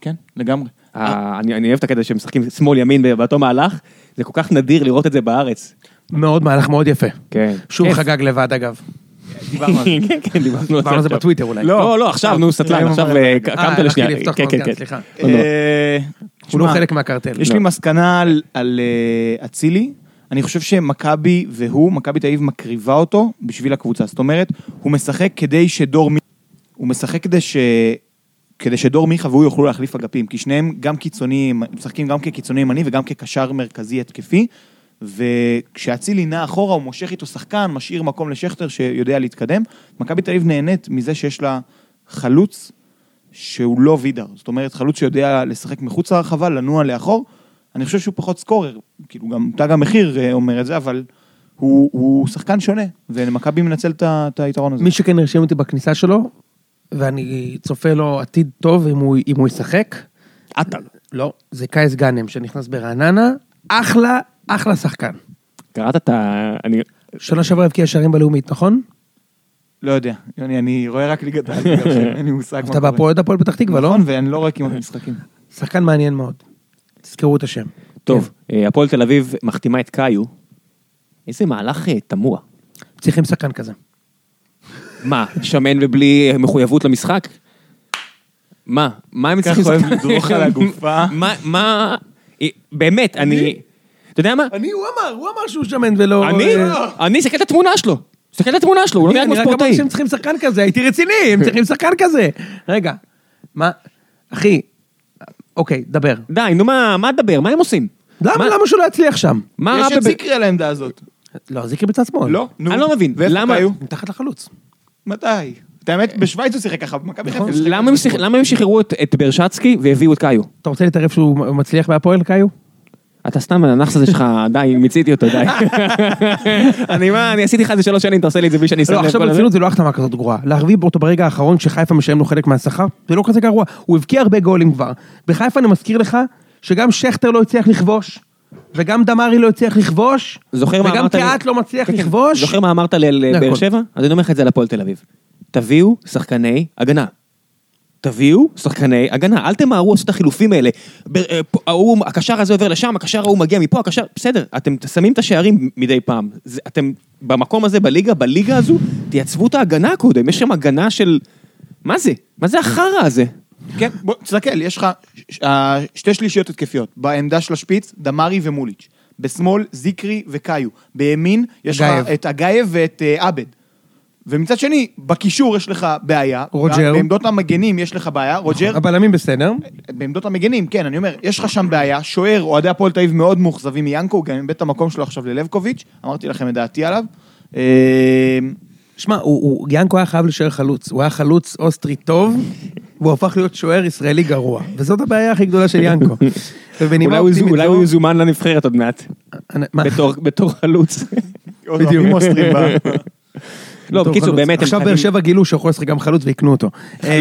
Speaker 2: כן, לגמרי.
Speaker 1: אה, אני אני אוהב את הקטע שמשחקים שמאל-ימין באותו מהלך, זה כל כך נדיר לראות את זה בארץ.
Speaker 3: מאוד מהלך מאוד יפה.
Speaker 1: כן.
Speaker 3: שוב
Speaker 1: כיף.
Speaker 3: חגג לבד אגב.
Speaker 2: דיברנו על זה.
Speaker 1: כן, כן, דיברנו
Speaker 3: דיברנו על זה
Speaker 1: עכשיו.
Speaker 3: בטוויטר אולי.
Speaker 1: לא, לא, עכשיו, נו, סטלן,
Speaker 2: היום
Speaker 1: עכשיו
Speaker 2: אמרנו
Speaker 1: אה,
Speaker 2: את זה.
Speaker 1: ק-
Speaker 3: אה,
Speaker 1: קמת
Speaker 3: הלכתי
Speaker 1: לשנייה.
Speaker 3: לפתוח
Speaker 1: כן, כן, כן.
Speaker 3: מונדיאל, סליחה.
Speaker 1: לא נורא.
Speaker 2: אה,
Speaker 3: הוא לא
Speaker 2: תשמע,
Speaker 3: חלק מהקרטל.
Speaker 2: יש לי מסקנה על- על אה, אצילי. אני חושב שמכבי והוא, מכבי תל אביב מקריבה אותו בשביל הקבוצה. זאת אומרת, הוא משחק כדי שדור מי... הוא משחק כדי ש... כדי שדור מיכה והוא יוכלו להחליף אגפים, כי שניהם גם קיצוניים, משחקים גם כקיצוני ימני וגם כקשר מרכזי התקפי, וכשאצילי נע אחורה הוא מושך איתו שחקן, משאיר מקום לשכטר שיודע להתקדם. מכבי תל אביב נהנית מזה שיש לה חלוץ שהוא לא וידר, זאת אומרת חלוץ שיודע לשחק מחוץ לרחבה, לנוע לאחור, אני חושב שהוא פחות סקורר, כאילו גם תג המחיר אה, אומר את זה, אבל הוא, הוא שחקן שונה, ומכבי מנצל את ה- את היתרון הזה.
Speaker 3: מי שכן הרשים אותי בכניסה שלו, ואני צופה לו עתיד טוב אם הוא, אם הוא ישחק.
Speaker 1: עטר.
Speaker 3: לא, זה קייס גאנם שנכנס ברעננה, אחלה, אחלה שחקן.
Speaker 1: קראת את ה... אני...
Speaker 3: שנה שעברה הבקיע שערים בלאומית, נכון?
Speaker 2: לא יודע, יוני, אני רואה רק ליגת העל, בגלל שאין לי מושג מה
Speaker 3: אתה בהפועל הפועל פתח תקווה, לא?
Speaker 2: נכון, ואני לא רואה כמעט משחקים.
Speaker 3: שחקן מעניין מאוד. תזכרו את השם.
Speaker 1: טוב, אה, הפועל תל אביב מחתימה את קאיו. איזה מהלך אה, תמוה.
Speaker 3: צריכים שחקן כזה.
Speaker 1: מה, שמן ובלי אה, מחויבות למשחק? מה? מה הם
Speaker 2: כך
Speaker 1: צריכים...
Speaker 2: אוהב
Speaker 1: לשחק?
Speaker 2: לדרוך על הגופה.
Speaker 1: מה, מה... אה, באמת, אני... אתה יודע מה?
Speaker 3: אני, הוא אמר, הוא אמר שהוא שמן ולא... אה, לא,
Speaker 1: אני? אני אסתכל על התמונה שלו. תסתכל על התמונה שלו, הוא לא נראה כמו
Speaker 3: אני רק אמרתי
Speaker 1: ספורטאי.
Speaker 3: שהם צריכים שחקן כזה, הייתי רציני, הם צריכים שחקן כזה. רגע, מה, אחי, אוקיי, דבר.
Speaker 1: די, נו מה, מה תדבר? מה הם עושים?
Speaker 3: למה,
Speaker 1: מה-
Speaker 3: למה שהוא לא יצליח שם?
Speaker 1: מה רע
Speaker 2: יש את
Speaker 1: בב...
Speaker 2: זיקרי על העמדה הזאת.
Speaker 3: לא, זיקרי בצד שמאל.
Speaker 2: לא, נו.
Speaker 1: אני לא מבין,
Speaker 2: ואיפה
Speaker 1: למה-
Speaker 2: קאיו?
Speaker 3: מתחת לחלוץ.
Speaker 2: מתי? את האמת, בשוויץ הוא שיחק ככה, במכבי חיפה. הוא שיחק
Speaker 1: למה הם שיח- למה הם שחררו את- את ברשצקי והביאו את קאיו?
Speaker 3: אתה רוצה להתערב שהוא מצליח בהפועל,
Speaker 1: לא,
Speaker 3: קאיו?
Speaker 1: אתה סתם, הנאחס הזה שלך, די, מיציתי אותו, די. אני מה, אני עשיתי לך את זה שלוש שנים, אתה עושה לי את זה בלי שאני שם
Speaker 3: לא,
Speaker 1: לב
Speaker 3: עכשיו
Speaker 1: כל הזמן.
Speaker 3: ברצינות זה לא החתמה כזאת גרועה. להרביב אותו ברגע האחרון שחיפה משלם לו חלק מהשכר, זה לא כזה גרוע. הוא הבקיע הרבה גולים כבר. בחיפה אני מזכיר לך שגם שכטר לא הצליח לכבוש, וגם דמארי לא הצליח לכבוש,
Speaker 1: זוכר מה
Speaker 3: וגם
Speaker 1: אמרת לי?
Speaker 3: קהת לא מצליח
Speaker 1: כן, כן.
Speaker 3: לכבוש. נכון.
Speaker 1: זוכר מה אמרת לי על
Speaker 3: זה
Speaker 1: אה, באר
Speaker 3: הכל.
Speaker 1: שבע? אז אני אומר לך את זה על הפועל תל אביב. תביאו שחקני הגנה. תביאו שחקני הגנה, אל תמהרו לעשות את החילופים האלה. ב- אה, פה, ההוא, הקשר הזה עובר לשם, הקשר ההוא מגיע מפה, הקשר... בסדר, אתם שמים את השערים מדי פעם. זה- אתם במקום הזה, בליגה, בליגה הזו, תייצבו את ההגנה קודם. יש שם הגנה של... מה זה? מה זה החרא הזה?
Speaker 2: כן, בוא, תסתכל, יש לך ש- אה, שתי שלישיות התקפיות. בעמדה של השפיץ, דמרי ומוליץ'. בשמאל, זיקרי וקאיו. בימין, יש לך
Speaker 3: אגייב.
Speaker 2: את אגייב ואת אה, עבד. ומצד שני, בקישור יש לך בעיה.
Speaker 3: רוג'ר. נכון.
Speaker 2: בעמדות המגנים יש לך בעיה. רוג'ר,
Speaker 3: הבלמים בסדר.
Speaker 2: בעמדות המגנים, כן, אני אומר, יש לך שם בעיה. שוער, אוהדי הפועל תל אביב מאוד מאוכזבים מיאנקו, גם איבד את המקום שלו עכשיו ללבקוביץ'. אמרתי לכם את דעתי עליו. אה,
Speaker 3: שמע, הוא- הוא- ינקו היה חייב להישאר חלוץ. הוא היה חלוץ אוסטרי טוב, והוא הפך להיות שוער ישראלי גרוע. וזאת הבעיה הכי גדולה של ינקו. ובנימה
Speaker 1: אולי הוא-
Speaker 3: אופטימית
Speaker 1: אולי
Speaker 3: זו-
Speaker 1: הוא יזומן לנבחרת עוד מעט,
Speaker 3: אני- מה?
Speaker 1: בתור- בתור חלוץ.
Speaker 2: עוד אוהבים אוסטרים ב-
Speaker 1: לא,
Speaker 3: בתור
Speaker 1: בקיצור,
Speaker 3: חלוץ.
Speaker 1: באמת, הם
Speaker 3: עכשיו באר אה,
Speaker 1: חייבים-
Speaker 3: שבע גילו שהוא יכול לשחק גם חלוץ ויקנו אותו.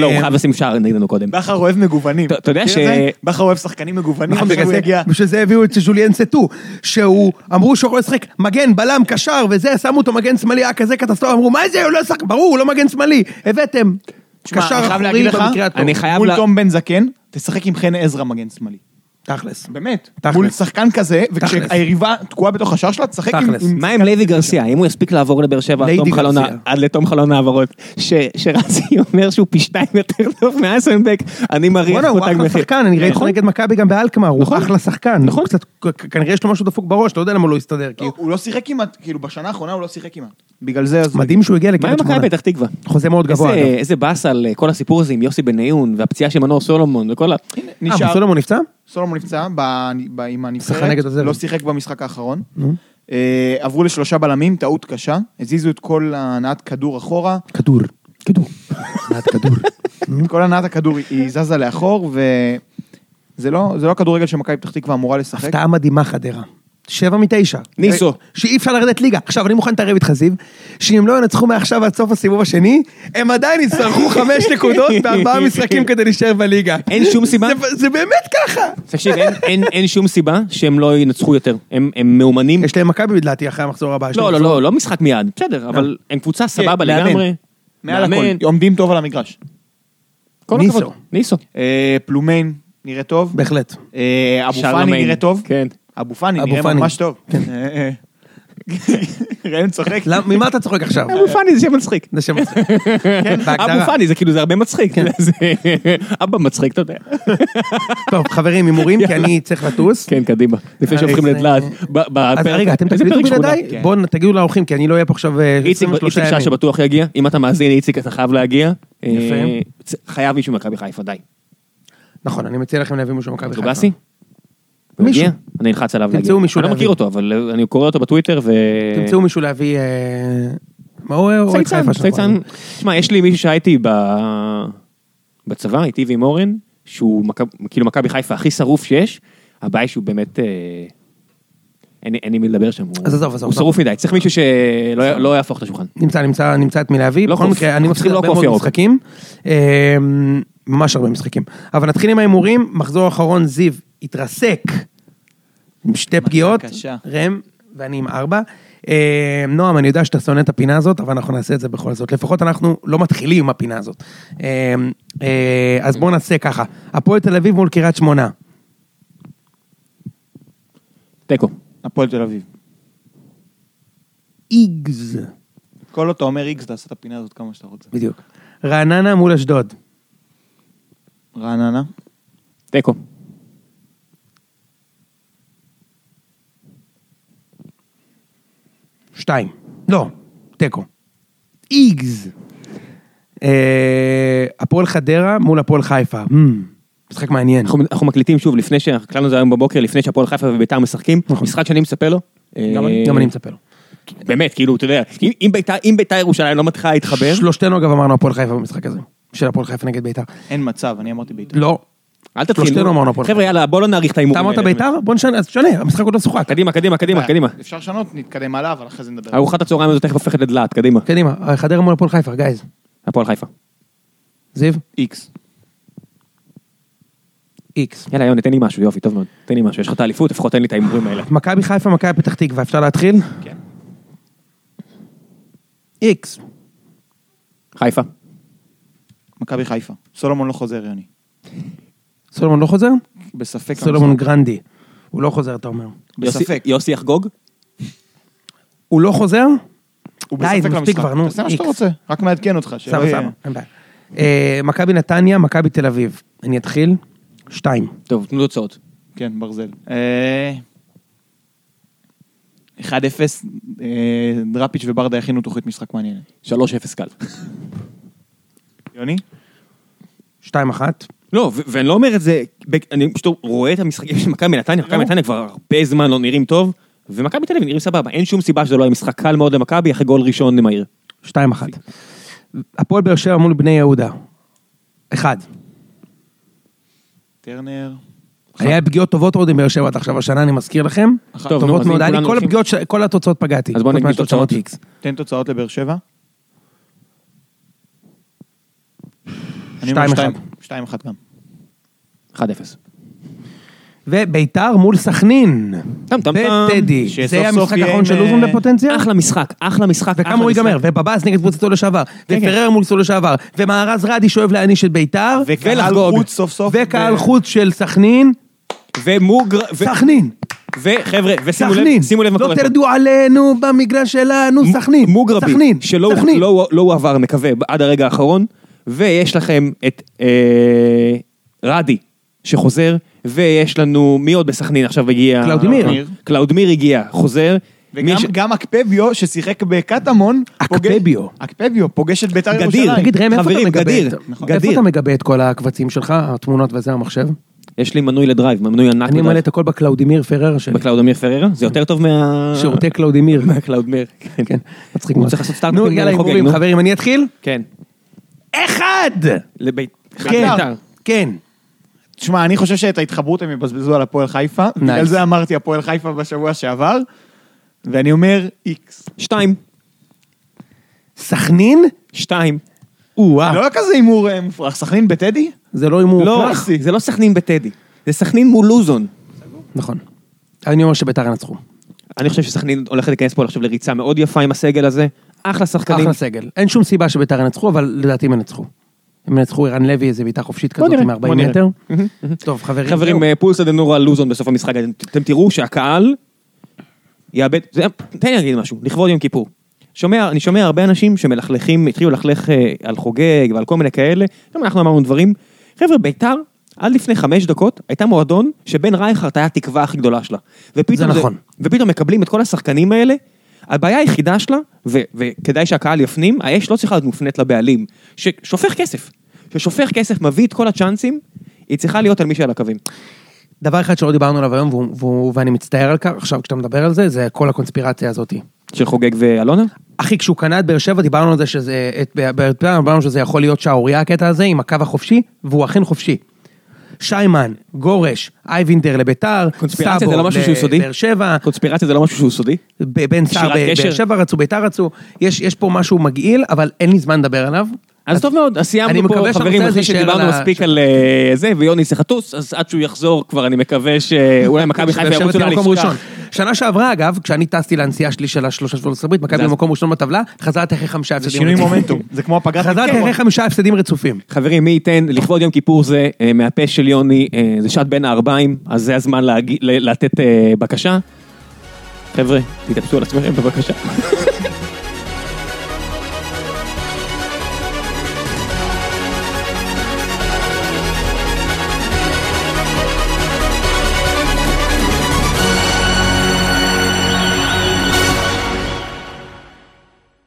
Speaker 1: לא, הוא חייב לשים שער נגדנו קודם.
Speaker 2: בכר אוהב מגוונים.
Speaker 1: אתה- אתה יודע
Speaker 2: מכיר את זה?
Speaker 1: ש-
Speaker 2: בכר אוהב שחקנים מגוונים,
Speaker 3: נכון,
Speaker 2: עכשיו
Speaker 3: בגלל
Speaker 2: הוא
Speaker 3: זה-
Speaker 2: יגיע.
Speaker 3: בשביל זה הביאו את ז'וליאן סטו, שהוא, אמרו שהוא יכול לשחק מגן, בלם, קשר וזה, שמו אותו מגן שמאלי, היה כזה קטסטרופה, אמרו, מה זה, הוא לא ישחק, ברור, הוא לא מגן שמאלי, הבאתם.
Speaker 2: תשמע,
Speaker 3: קשר
Speaker 2: אני חייב
Speaker 3: אחורי
Speaker 2: להגיד לך,
Speaker 3: במקרה הטוב.
Speaker 1: אני חייב
Speaker 2: מול
Speaker 1: לה-
Speaker 2: תום בן זקן, תשחק עם חן עזרא מגן שמאלי.
Speaker 3: תכלס.
Speaker 2: באמת.
Speaker 3: תכלס.
Speaker 2: מול שחקן כזה,
Speaker 3: תכלס.
Speaker 2: וכשהיריבה תקועה בתוך השער שלה, תשחק עם...
Speaker 3: תכלס. לא.
Speaker 2: עם-
Speaker 1: מה עם לוי גרסיה? אם הוא יספיק לעבור לבאר שבע עד
Speaker 3: ליידי
Speaker 1: תום חלון ה-
Speaker 3: גרסיה.
Speaker 1: עד לתום חלון ההעברות, ש- שרזי אומר שהוא פי שתיים יותר טוב מאסנבק, אני מריח
Speaker 3: בואנה, הוא
Speaker 1: אותה
Speaker 3: אחלה שחקן, אני ראיתי אותו
Speaker 1: נכון?
Speaker 3: נגד מכבי גם באלקמר, הוא
Speaker 1: נכון.
Speaker 3: אחלה שחקן.
Speaker 1: נכון.
Speaker 3: קצת- כ- כנראה יש לו משהו דפוק בראש, אתה יודע למה הוא לא הסתדר, כי
Speaker 2: לא, הוא לא שיחק כמעט, כאילו בשנה האחרונה הוא לא שיחק כמעט. בגלל זה אז...
Speaker 3: מדהים שהוא הגיע
Speaker 1: לא. מה עם
Speaker 3: לקריית שמונה.
Speaker 1: מכבי פתח תקווה?
Speaker 3: חוזה מאוד גבוה,
Speaker 1: איזה-
Speaker 3: אגב.
Speaker 1: איזה באס על אה, כל הסיפור הזה עם יוסי בניון והפציעה של מנור סולומון וכל ה...
Speaker 3: אה,
Speaker 2: נשאר,
Speaker 3: מסולומון נפצע?
Speaker 2: סולומון נפצע ב- ב- עם
Speaker 3: שחקן
Speaker 2: הנבחרת,
Speaker 3: נגד הזרם.
Speaker 2: לא שיחק במשחק האחרון. אה, עברו לשלושה בלמים, טעות קשה, הזיזו את כל הנעת כדור אחורה,
Speaker 3: כדור. כדור. מעט כדור.
Speaker 2: כל הנעת הכדור היא- היא זזה לאחור, וזה לא זה לא הכדורגל שמכבי פתח תקווה אמורה לשחק.
Speaker 3: הפתעה מדהימה חדרה. שבע מתשע.
Speaker 1: ניסו.
Speaker 3: אה, שאי אפשר לרדת ליגה. עכשיו, אני מוכן להתערב איתך, זיו, שאם הם לא ינצחו מעכשיו עד סוף הסיבוב השני, הם עדיין יצטרכו חמש נקודות בארבעה משחקים כדי להישאר בליגה.
Speaker 1: אין שום סיבה?
Speaker 3: זה- זה באמת ככה.
Speaker 1: תקשיב, אין- אין- אין שום סיבה שהם לא ינצחו יותר. הם הם מאומנים...
Speaker 3: יש להם מכבי לדעתי אחרי המחזור הבא. יש להם
Speaker 1: לא, לא,
Speaker 3: מחזור-
Speaker 1: לא, לא משחק מיד, בסדר, אבל הם קבוצה סבבה
Speaker 2: מאמן.
Speaker 1: לגמרי.
Speaker 2: מעל
Speaker 1: מאמן.
Speaker 2: הכל, עומדים טוב על המגרש.
Speaker 1: כל
Speaker 3: ניסו.
Speaker 1: הכבוד. ניסו.
Speaker 2: אה, פלומיין נראה טוב,
Speaker 3: בהחלט.
Speaker 2: אה, אבו
Speaker 1: שרלומיין.
Speaker 2: פאני נראה טוב,
Speaker 1: כן.
Speaker 2: אבו פאני
Speaker 3: אבו
Speaker 2: נראה
Speaker 3: פאני. כן.
Speaker 2: ממש טוב. אה, אה. ראם צוחק,
Speaker 3: למ- ממה אתה צוחק עכשיו?
Speaker 1: אבו פאני זה שם מצחיק.
Speaker 3: זה שם מצחיק.
Speaker 1: אבו
Speaker 3: בהגדרה.
Speaker 1: פאני זה כאילו זה הרבה מצחיק, זה- אבא מצחיק אתה יודע.
Speaker 3: טוב, חברים, הימורים, כי אני צריך לטוס.
Speaker 1: כן קדימה, לפני שהופכים
Speaker 3: זה-
Speaker 1: לדלעת. ב-
Speaker 3: אז
Speaker 1: אה, בפרק-
Speaker 3: רגע, אתם
Speaker 1: איזה
Speaker 3: תקליטו
Speaker 1: פרק שמונה?
Speaker 3: בלעדיי? בואו תגידו לאורחים, כי אני לא אהיה פה עכשיו אה,
Speaker 1: איציק
Speaker 3: 23
Speaker 1: איציק שעה
Speaker 3: ימים.
Speaker 1: שבטוח יגיע, אם אתה מאזין איציק אתה חייב להגיע.
Speaker 3: יפה.
Speaker 1: אה, צ- חייב מישהו ממכבי חיפה, די.
Speaker 3: נכון, אני מציע לכם להביא מישהו מכבי חיפה.
Speaker 1: דוגסי? הוא
Speaker 3: מישהו.
Speaker 1: יגיע? אני אלחץ עליו להגיע.
Speaker 3: תמצאו מישהו
Speaker 1: אני לא
Speaker 3: להביא.
Speaker 1: מכיר אותו, אבל אה, אני קורא אותו בטוויטר ו...
Speaker 3: תמצאו מישהו להביא... אה, מה הוא אוהד
Speaker 1: צייצן,
Speaker 3: חיפה שלך?
Speaker 1: צייצן. שמע, יש לי מישהו שהיה איתי ב... בצבא, איתי ועם אורן, שהוא מכב- כאילו מכבי חיפה הכי שרוף שיש, הבעיה היא שהוא באמת... אה, אין אין עם מי לדבר שם, הוא-
Speaker 3: אז עזוב, עזוב,
Speaker 1: הוא שרוף מדי, צריך מישהו שלא י- לא יהפוך את השולחן.
Speaker 3: נמצא, נמצא, נמצא את מי להביא.
Speaker 1: לא
Speaker 3: בכל
Speaker 1: קוף.
Speaker 3: מקרה, אני
Speaker 1: אנחנו
Speaker 3: מפסיד
Speaker 1: צריכים לא
Speaker 3: הרבה
Speaker 1: קוף
Speaker 3: מאוד
Speaker 1: ירוק.
Speaker 3: משחקים. אה, ממש הרבה משחקים. אבל נתחיל עם ההימורים, מחזור אחרון זיו התרסק עם שתי פגיעות.
Speaker 2: קשה.
Speaker 3: ראם ואני עם ארבע. אה, נועם, אני יודע שאתה שונא את הפינה הזאת, אבל אנחנו נעשה את זה בכל זאת. לפחות אנחנו לא מתחילים עם הפינה הזאת. אה, אה, אז בואו נעשה ככה. הפועל תל אביב מול קריית שמונה.
Speaker 1: תיקו.
Speaker 2: הפועל תל אביב.
Speaker 3: איגז.
Speaker 2: כל עוד אתה אומר איקס, תעשה את הפינה הזאת כמה שאתה רוצה.
Speaker 3: בדיוק. רעננה מול אשדוד.
Speaker 2: רעננה?
Speaker 1: תיקו.
Speaker 3: שתיים. לא, תיקו. איגז. אה, הפועל חדרה מול הפועל חיפה.
Speaker 1: Mm.
Speaker 3: אמ, משחק מעניין.
Speaker 1: אנחנו, אנחנו מקליטים שוב לפני שהקלטנו את זה היום בבוקר, לפני שהפועל חיפה וביתר משחקים,
Speaker 3: נכון.
Speaker 1: משחק שאני מצפה לו.
Speaker 3: גם אני-
Speaker 1: אה,
Speaker 3: גם אני מצפה לו.
Speaker 1: באמת, כאילו, אתה יודע, אם- אם ביתר- אם ביתר ירושלים לא מתחילה להתחבר,
Speaker 3: שלושתנו אגב אמרנו הפועל חיפה במשחק הזה. של הפועל חיפה נגד ביתר.
Speaker 2: אין מצב, אני אמרתי בית"ר.
Speaker 3: לא.
Speaker 1: אל תתחיל.
Speaker 3: שלושתנו
Speaker 1: נו.
Speaker 3: אמרנו הפועל
Speaker 1: חבר'ה, יאללה, בוא לא נאריך את ההימורים
Speaker 3: נכון. אתה אמרת ביתר? בוא נשנה, אז תשנה, המשחק עוד לא שוחק.
Speaker 1: קדימה, קדימה, קדימה, קדימה.
Speaker 2: אה, אפשר לשנות, נתקדם עליו, אבל אחרי זה
Speaker 3: אה,
Speaker 2: נדבר.
Speaker 1: ארוחת הצהריים הזאת תכף הופכת לדלעת, קדימה.
Speaker 3: קדימה, אה, חדרה מול הפועל חיפה, גייז.
Speaker 1: הפועל חיפה.
Speaker 3: זיו?
Speaker 2: איקס.
Speaker 3: איקס.
Speaker 1: יאללה, יוני, תן לי משהו, יופי, טוב מאוד. תן לי משהו, יש לך את האליפות, לפחות תן לי את ההימורים האלה.
Speaker 3: מכבי חיפה, מכבי פתח תקווה, אפשר להתחיל?
Speaker 2: כן.
Speaker 3: איקס.
Speaker 1: חיפה.
Speaker 2: מכבי חיפה. סולומון לא חוזר, יוני.
Speaker 3: סולומון לא חוזר?
Speaker 1: כן,
Speaker 2: בספק.
Speaker 3: סולומון גרנדי. הוא לא חוזר, אתה אומר.
Speaker 1: יוסי-
Speaker 2: בספק.
Speaker 1: יוסי יחגוג?
Speaker 3: הוא לא חוזר?
Speaker 2: הוא
Speaker 3: די,
Speaker 2: בספק
Speaker 3: מספיק
Speaker 2: למשחק.
Speaker 3: כבר, נו,
Speaker 2: תעשה מה שאתה
Speaker 3: איקס.
Speaker 2: רוצה, רק מעדכן אותך. שלא
Speaker 3: סבא
Speaker 2: יהיה-
Speaker 3: סבא, אין בעיה. אה, מכבי נתניה, מכבי תל אביב. אני אתחיל. שתיים.
Speaker 1: טוב, תנו תוצאות.
Speaker 2: כן, ברזל. אה, 1-0, אה, דראפיץ' וברדה הכינו תוכנית משחק מעניינת.
Speaker 1: 3-0 קל.
Speaker 2: יוני?
Speaker 3: שתיים אחת.
Speaker 1: לא, ו- ואני לא אומר את זה, ב- אני פשוט רואה את המשחקים של מכבי נתניה, מכבי נתניה כבר הרבה זמן לא נראים טוב, ומכבי תל אביב נראים סבבה, אין שום סיבה שזה לא יהיה משחק קל מאוד למכבי אחרי גול ראשון למהיר.
Speaker 3: שתיים אחת. הפועל באר שבע מול בני יהודה. אחד.
Speaker 2: טרנר?
Speaker 3: היה פגיעות טובות מאוד עם באר שבע עד עכשיו, השנה אני מזכיר לכם.
Speaker 1: אחת. טוב, נו,
Speaker 3: טובות
Speaker 1: אז אם
Speaker 3: מאוד. היה לי
Speaker 1: כולנו
Speaker 3: כל
Speaker 1: הולכים-
Speaker 3: הפגיעות, ש- כל התוצאות פגעתי.
Speaker 1: אז בוא
Speaker 3: חוץ
Speaker 1: נגיד
Speaker 3: מהתוצאות
Speaker 1: תוצאות.
Speaker 3: איקס.
Speaker 2: תן תוצאות לבאר שבע. אני אומר
Speaker 3: שתיים אחד.
Speaker 2: שתיים- שתיים אחת גם.
Speaker 1: 1-0.
Speaker 3: וביתר מול סכנין.
Speaker 1: טם, טם, טם.
Speaker 3: בטדי.
Speaker 2: שסוף
Speaker 3: זה היה
Speaker 2: סוף
Speaker 3: המשחק
Speaker 2: יהיה
Speaker 3: האחרון
Speaker 2: עם,
Speaker 3: של
Speaker 2: אה,
Speaker 3: לוזון בפוטנציה?
Speaker 1: אחלה משחק, אחלה משחק, אחלה
Speaker 3: וכמה הוא ייגמר,
Speaker 1: משחק. כן,
Speaker 3: ובבאס נגד קבוצתו לשעבר, ופררה מול קבוצתו לשעבר, ומארז רדי שואב להעניש את ביתר,
Speaker 2: וקהל
Speaker 1: ולחגוג.
Speaker 2: חוץ סוף סוף.
Speaker 3: וקהל
Speaker 2: ב-
Speaker 3: חוץ של סכנין,
Speaker 1: ומוגר... ו-
Speaker 3: סכנין,
Speaker 1: וחבר'ה, ושימו לב,
Speaker 3: סכנין,
Speaker 1: שימו לב מה
Speaker 3: לא
Speaker 1: קורה פה.
Speaker 3: תרדו עלינו במגרש שלנו, סכנין,
Speaker 1: מוגרבי,
Speaker 3: סכנין,
Speaker 1: שלא
Speaker 3: סכנין.
Speaker 1: לא, לא הועבר, מקווה, עד הרגע האחרון, ויש לכם את אה, רדי, שחוזר, ויש לנו, מי עוד בסכנין עכשיו הגיע?
Speaker 3: קלאודמיר.
Speaker 1: קלאודמיר הגיע, חוזר. מי
Speaker 2: וגם גם אקפביו, ששיחק בקטמון, פוגש-
Speaker 3: אקפביו.
Speaker 2: אקפביו, פוגש את ביתר
Speaker 1: גדיר.
Speaker 2: ירושלים.
Speaker 3: תגיד ראם, איפה
Speaker 1: חברים,
Speaker 3: אתה מגבה
Speaker 1: גדיר,
Speaker 3: את
Speaker 1: נכון.
Speaker 3: איפה
Speaker 1: גדיר.
Speaker 3: אתה מגבה את כל הקבצים שלך, התמונות וזה, המחשב?
Speaker 1: יש לי מנוי לדרייב, מנוי ענק
Speaker 3: אני מלא את הכל בקלאודימיר פררה שלי,
Speaker 1: בקלאודמיר פררה, זה יותר טוב מה...
Speaker 3: שירותי קלאודימיר.
Speaker 1: מהקלאודמיר.
Speaker 3: כן, מצחיק
Speaker 1: הוא
Speaker 3: מאוד.
Speaker 1: צריך לעשות סטארט-אפים
Speaker 3: נו, יאללה,
Speaker 1: ולחוגג,
Speaker 3: הימורים,
Speaker 1: נו.
Speaker 3: חברים, אני אתחיל?
Speaker 1: כן,
Speaker 3: אחד!
Speaker 1: לבית...
Speaker 3: כן,
Speaker 1: אה.
Speaker 3: כן.
Speaker 2: תשמע, אני חושב שאת ההתחברות הם יבזבזו על הפועל חיפה. בגלל זה אמרתי הפועל חיפה בשבוע שעבר, ואני אומר איקס.
Speaker 1: שתיים,
Speaker 3: סכנין?
Speaker 1: שתיים.
Speaker 3: או-אה.
Speaker 2: לא כזה הימור אה, מופרך, סכנין בטדי?
Speaker 3: זה לא הימור
Speaker 1: לא,
Speaker 3: מופרך.
Speaker 1: זה לא סכנין בטדי, זה סכנין מול לוזון.
Speaker 3: נכון. אני אומר שביתר ינצחו.
Speaker 1: אני חושב שסכנין הולכת להיכנס פה עכשיו לריצה מאוד יפה עם הסגל הזה. אחלה שחקנים.
Speaker 3: אחלה סגל. אין שום סיבה שביתר ינצחו, אבל לדעתי הם ינצחו. הם ינצחו ערן לוי, איזה בעיטה חופשית כזאת
Speaker 1: נראה, בוא
Speaker 3: מ-40
Speaker 1: נראה.
Speaker 3: מטר. טוב, חברים.
Speaker 1: חברים,
Speaker 3: זהו.
Speaker 1: אה, פולסא דנורו על לוזון בסוף המשחק, אתם- אתם תראו שהקהל יאבד, זה- תן לי להגיד משהו, לכבוד יום כיפור. שומע, אני שומע הרבה אנשים שמלכלכים, התחילו ללכלך אה, על חוגג ועל כל מיני כאלה, גם אנחנו אמרנו דברים. חבר'ה, ביתר, עד לפני חמש דקות, הייתה מועדון שבן רייכרט היה התקווה הכי גדולה שלה. ופתאום
Speaker 3: זה נכון.
Speaker 1: ופתאום מקבלים את כל השחקנים האלה. הבעיה היחידה שלה, ו- וכדאי שהקהל יפנים, האש לא צריכה להיות מופנית לבעלים, ששופך כסף. ששופך כסף, מביא את כל הצ'אנסים, היא צריכה להיות על מי שעל הקווים.
Speaker 3: דבר אחד שלא דיברנו עליו היום, והוא- והוא- ואני מצטער על כך, עכשיו כשאתה מדבר על זה, זה כל הקונספירציה הזאת.
Speaker 1: של חוגג ואלונה?
Speaker 3: אחי, כשהוא קנה את באר שבע, דיברנו על זה שזה... את באר- באר שבע, אמרנו שזה יכול להיות שערורייה הקטע הזה, עם הקו החופשי, והוא אכן חופשי. שיימן, גורש, אייבינדר לביתר,
Speaker 1: קונספירציה זה
Speaker 3: סאבו
Speaker 1: לא משהו שהוא סודי?
Speaker 3: לבאר שבע,
Speaker 1: קונספירציה זה לא משהו שהוא סודי?
Speaker 3: ב- בן סער
Speaker 1: קשירת
Speaker 3: ב-
Speaker 1: קשר?
Speaker 3: באר שבע רצו, ביתר רצו, יש, יש פה משהו מגעיל, אבל אין לי זמן לדבר עליו.
Speaker 1: אז טוב מאוד, אז
Speaker 3: אני
Speaker 1: סיימנו פה,
Speaker 3: מקווה שהנושא
Speaker 1: חברים,
Speaker 3: הזה
Speaker 1: אחרי
Speaker 3: יישאר
Speaker 1: שדיברנו
Speaker 3: על ה-
Speaker 1: מספיק על אה, זה, ויוני צריך לטוס, אז עד שהוא יחזור כבר, אני מקווה שאולי מכבי חיפה
Speaker 3: שבאר שבע
Speaker 1: ירוצו
Speaker 3: תהיה
Speaker 1: לה
Speaker 3: מקום
Speaker 1: לפתוח.
Speaker 3: ראשון. שנה שעברה, אגב, כשאני טסתי לנסיעה שלי של השלושה שבועות לארצות הברית, מכבי
Speaker 2: זה-
Speaker 3: במקום ראשון בטבלה, חזרת אחרי חמישה
Speaker 2: זה
Speaker 3: הפסדים
Speaker 2: שינוי מומנטום, זה כמו הפגרת
Speaker 3: חזרת
Speaker 2: הבחירות.
Speaker 3: אחרי חמישה הפסדים רצופים.
Speaker 1: חברים, מי ייתן, לכבוד יום כיפור זה, אה, מהפה של יוני, אה, זה שעת בין הערביים, אז זה הזמן להגיד- ל- לתת אה, בקשה. חבר'ה, תתאפסו על עצמכם בבקשה.